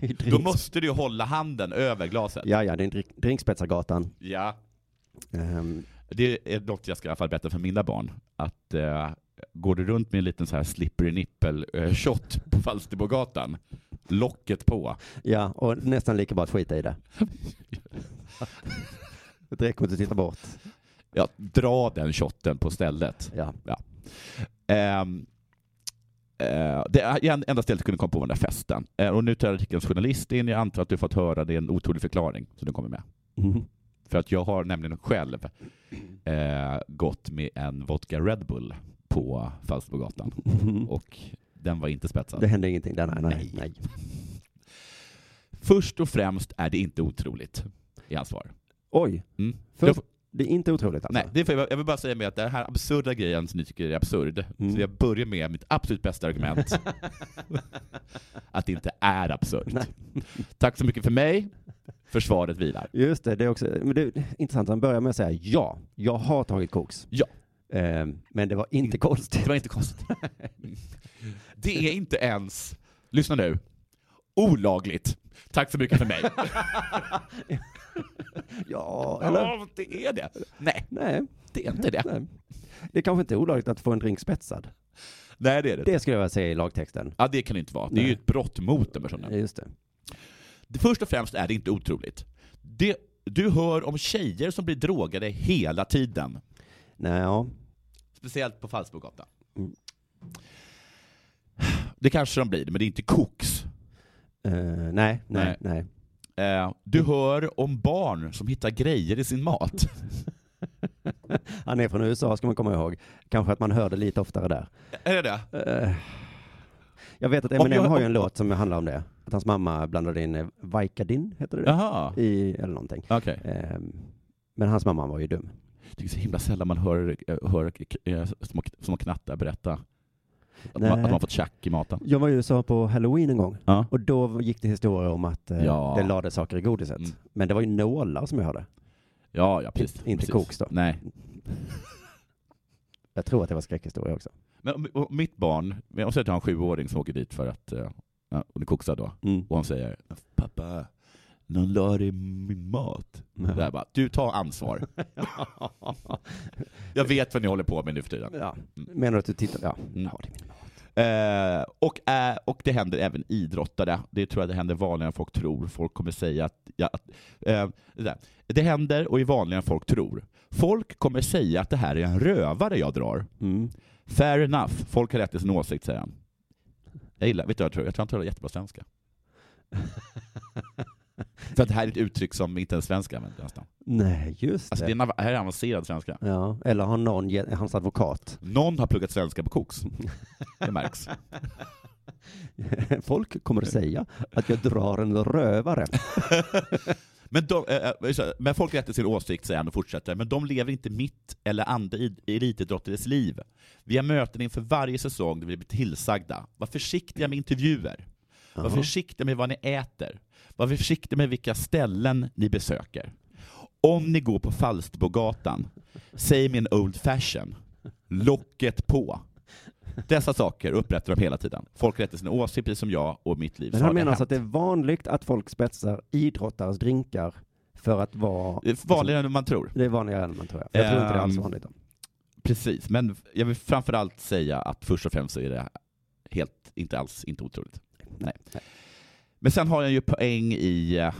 S4: ju
S3: Då
S4: drink...
S3: måste du ju hålla handen över glaset.
S4: Ja, ja, det är en drink- Drinkspetsargatan.
S3: Ja.
S4: Ehm,
S3: Det är något jag ska i alla fall berätta för mina barn. Att eh, går du runt med en liten så här slippery nipple eh, shot på Falsterbogatan, locket på.
S4: ja, och nästan lika bra att
S3: [laughs]
S4: skita i det. Det räcker inte att titta bort.
S3: Ja, dra den shotten på stället.
S4: Ja.
S3: Ehm, eh, det en- enda stället jag kunde komma på var den där festen. Eh, och nu tar artikelns journalist in. Jag antar att du fått höra det är en otrolig förklaring som du kommer med. Mm.
S4: Mhm.
S3: För att jag har nämligen själv eh, gått med en vodka Red Bull på Falsterbogatan.
S4: Mhm.
S3: Och den var inte spetsad.
S4: Det hände ingenting där, nej, nej,
S3: Nej.
S4: nej.
S3: Först och främst är det inte otroligt i hans svar.
S4: Oj,
S3: Mm.
S4: Först-
S3: Jag får-
S4: det är inte otroligt alltså.
S3: nej, det får jag, jag vill bara säga med att den här absurda grejen som ni tycker är absurd,
S4: Mm.
S3: så jag börjar med mitt absolut bästa
S4: [laughs]
S3: argument. att det inte är absurt.
S4: Nej.
S3: Tack så mycket för mig. Försvaret vilar.
S4: Just det, det är också men det är intressant. Han börjar med att säga ja, jag har tagit koks.
S3: Ja. Mm.
S4: Ehm, men det var inte konstigt. [laughs]
S3: Det var inte konstigt. Det är inte ens, lyssna nu, olagligt. Tack så mycket för mig.
S4: Ja, eller?
S3: Ja, det är det. Nej,
S4: Nej,
S3: det är inte det.
S4: nej. Det är kanske inte olagligt att få en drink spetsad.
S3: Nej, det är det.
S4: Det skulle jag vilja säga i lagtexten.
S3: Ja, det kan det inte vara. Det är ju
S4: Nej.
S3: ett brott mot den personen.
S4: Just det.
S3: Det Först och främst är det inte otroligt. Det, du hör om tjejer som blir drogade hela tiden.
S4: Nej, ja.
S3: Speciellt på Falsterbogatan.
S4: Mm.
S3: Det kanske de blir, men det är inte koks.
S4: Eh, nej, nej,
S3: Nej.
S4: nej. [laughs]
S3: Eh, du
S4: Mm.
S3: hör om barn som hittar grejer i sin
S4: [laughs]
S3: mat.
S4: Han är från USA ska man komma ihåg. Kanske att man hör det lite oftare där.
S3: är det det?
S4: Eh, jag vet att
S3: jag-
S4: Eminem har ju en låt som handlar om det. Att hans mamma blandade in eh, Vicodin, heter det det?
S3: Jaha.
S4: I, eller någonting.
S3: Okej.
S4: Ehm, men hans mamma var ju dum.
S3: Det är så himla sällan man hör, hör eh, små, små knattar berätta att
S4: Nej.
S3: man, att man har fått tjack i maten.
S4: Jag var i USA på halloween en gång
S3: Ja.
S4: och då gick det historier om att eh,
S3: Ja.
S4: det lades saker i godiset.
S3: Mm.
S4: Men det var ju nålar som jag hörde.
S3: Ja, ja precis.
S4: Inte
S3: precis.
S4: koks då.
S3: Nej.
S4: Jag tror att det var skräckhistorier också.
S3: Men om- om mitt barn, men jag säger att jag har en sjuåring som åker dit för att, eh, ja, hon är koksad då,
S4: Mm.
S3: och hon säger ”Pappa, någon la det i min mat”.
S4: Ja.
S3: Där bara, du tar ansvar. jag vet vad ni håller på med nu för
S4: [laughs]
S3: tiden.
S4: Ja. Menar du att du tittar? Ja.
S3: Mm.
S4: Ja, det är min-
S3: Eh, och, eh, och det händer även idrottare. Det tror jag det händer vanligare än folk tror. Folk kommer säga att... Ja, att eh, det, där. det händer och är vanligare än folk tror. Folk kommer säga att det här är en rövare jag drar.
S4: Mm. [laughs]
S3: Fair enough. Folk har rätt till sin åsikt, säger han. Jag gillar, vet du vad jag tror? Jag tror han talar jättebra svenska. För att det här är ett uttryck som inte ens svenska använder nästan.
S4: Nej, just
S3: Alltså det
S4: det.
S3: är, en av- här är avancerad svenska.
S4: Ja. Eller har någon, ge- hans advokat, [laughs]
S3: Någon har pluggat svenska på koks. Det märks. [laughs]
S4: folk kommer att säga att jag drar en rövare.
S3: Men, de, eh, eh, så här, men folk rätter sin åsikt, säger han och fortsätter, men de lever inte mitt eller andra id- elitidrottares liv. Vi har möten inför varje säsong där vi blir tillsagda. Var försiktiga med intervjuer. Var försiktiga med vad ni äter. Var försiktiga med vilka ställen ni besöker. Om ni går på Falsterbogatan, säg min old fashion. Locket på. Dessa saker upprättar de hela tiden. Folk rättar sin åsikt precis som jag och mitt liv.
S4: Men
S3: Så
S4: han
S3: har det
S4: menar alltså att
S3: hänt.
S4: det är vanligt att folk spetsar idrottares drinkar för att vara...
S3: Det är vanligare än man tror.
S4: Det är vanligare än man tror jag. Jag tror inte det är alls
S3: Ehm,
S4: vanligt. då.
S3: Precis, men jag vill framförallt säga att först och främst så är det helt, inte alls, inte otroligt. Nej. Men sen har jag ju poäng i eh,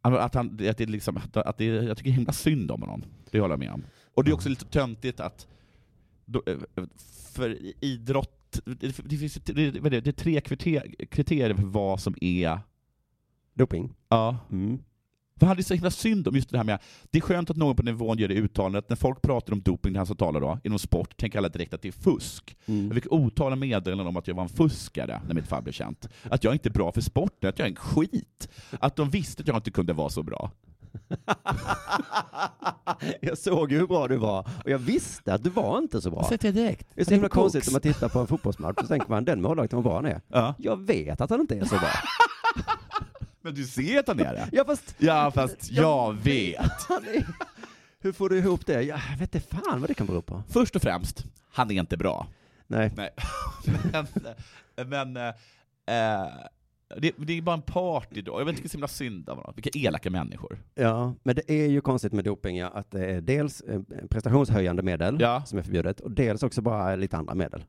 S3: att, han, att det är liksom, att det är, jag tycker himla synd om honom. Det håller jag med om. Och det är också lite töntigt att, då, eh, för idrott, det, det finns ju- det, vad är det, det är tre kriter- kriterier för vad som är,
S4: Doping.
S3: ja,
S4: Mm.
S3: för han är så himla synd om just det här med, det är skönt att någon på nivån gör det uttalandet, när folk pratar om doping, det han som talar då, inom sport, tänker alla direkt att det är fusk. Jag fick otaliga meddelanden om att jag var en fuskare när mitt fall blev känt. Att jag inte är bra för sporten, att jag är en skit. Att de visste att jag inte kunde vara så bra.
S4: Jag såg ju hur bra du var och jag visste att du var inte så bra.
S3: Så jag direkt.
S4: Det är så himla konstigt när man tittar på en fotbollsmatch och så tänker man den målvakten var bra han är.
S3: Ja.
S4: Jag vet att han inte är så bra.
S3: Men du ser att han är det?
S4: Ja fast
S3: Ja, fast jag vet.
S4: han är... Hur får du ihop det? Ja, Jag vet inte fan vad det kan bero på.
S3: Först och främst, han är inte bra.
S4: Nej.
S3: Nej. [laughs] men men eh, eh, det, det är bara en part idag. Jag vet inte, det är så himla synd av honom. Vilka elaka människor.
S4: Ja, men det är ju konstigt med doping ja, att det är dels eh, prestationshöjande medel
S3: Ja.
S4: som är förbjudet och dels också bara lite andra medel.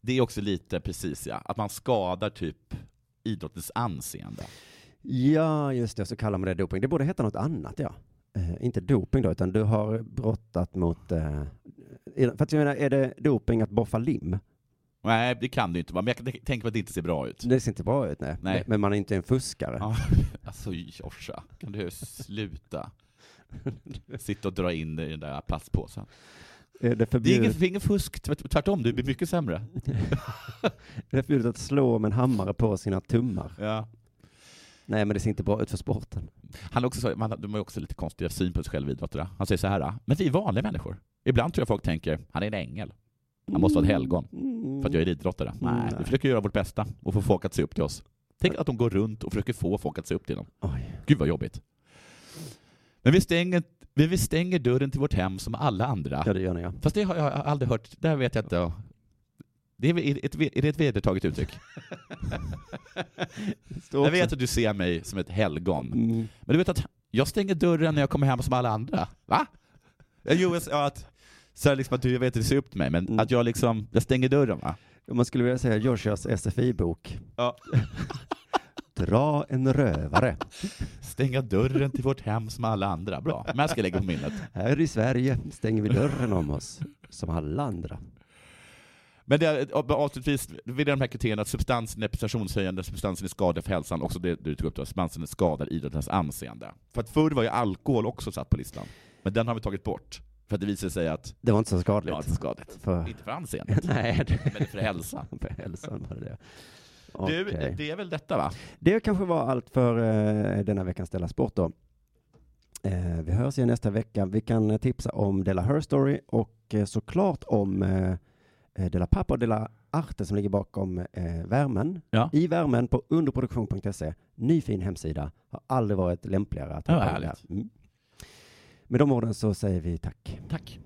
S3: Det är också lite precis ja, att man skadar typ idrottens anseende.
S4: Ja, just det, så kallar man det doping. Det borde heta något annat ja. Eh, inte doping då, utan du har brottat mot... Eh, är- för att jag menar, är det doping att boffa lim?
S3: Nej, det kan det ju inte vara, men jag kan tänka mig att det inte ser bra ut.
S4: Det ser inte bra ut, nej.
S3: Nej.
S4: Men man är inte en fuskare.
S3: Ja, alltså Joshua, kan du [laughs] sluta sitta och dra in det i den där plastpåsen?
S4: Är det,
S3: Det är
S4: förbjudet,
S3: inget, det är ingen fusk, tvärt- tvärtom, du blir mycket sämre.
S4: är det förbjudet att slå med en hammare på sina tummar?
S3: Ja.
S4: Nej, men det ser inte bra ut för sporten.
S3: Han har också, så- man, de har också lite konstiga syn på sig själv idrottare. Han säger så här, men vi är vanliga människor. Ibland tror jag folk tänker, han är en ängel. Han måste vara ett helgon, för att jag är idrottare. Nej, vi försöker göra vårt bästa och få folk att se upp till oss. Tänk att de går runt och försöker få folk att se upp till dem.
S4: Mm. Oj.
S3: Gud vad jobbigt. Men vi stänger, men vi stänger dörren till vårt hem som alla andra.
S4: Ja, det gör ni ja.
S3: Fast det har jag aldrig hört, det här vet jag inte. Det är, väl- är, det ett- är det ett vedertaget uttryck? [laughs] jag vet att du ser mig som ett helgon.
S4: Mm.
S3: Men du vet att jag stänger dörren när jag kommer hem som alla andra. Va? Ja, Jo, jag, ja, att, så här liksom att du jag vet att du ser upp till mig, men att jag liksom, jag stänger dörren va?
S4: Om man skulle vilja säga Joshuas SFI-bok.
S3: Ja.
S4: Dra en rövare.
S3: Stänga dörren till vårt hem som alla andra. Bra, men jag ska lägga på minnet.
S4: Här i Sverige stänger vi dörren om oss, som alla andra.
S3: Men det, är- avslutningsvis, vid de här kriterierna, att substansen är prestationshöjande, substansen är skadlig för hälsan, också det du tog upp då, substansen skadar idrottens anseende. För att förr var ju alkohol också satt på listan, men den har vi tagit bort. För att det visade sig att,
S4: Det var inte så skadligt.
S3: ja, det är skadligt.
S4: För...
S3: Inte för anseendet,
S4: [laughs] Nej, det...
S3: men det är för hälsan.
S4: för hälsan var det det.
S3: Du,
S4: Okej.
S3: det är väl detta va?
S4: Det kanske var allt för eh, denna veckans Della Sport då. Eh, vi hörs igen nästa vecka. Vi kan eh, tipsa om Della Her Story och eh, såklart om eh, eh, Della Pappa och Della Arte som ligger bakom eh, värmen.
S3: Ja.
S4: I värmen på underproduktion.se. Ny fin hemsida. Har aldrig varit lämpligare att Mm.
S3: Ja, vad
S4: på det här.
S3: härligt.
S4: Mm. Med de orden så säger vi tack.
S3: Tack.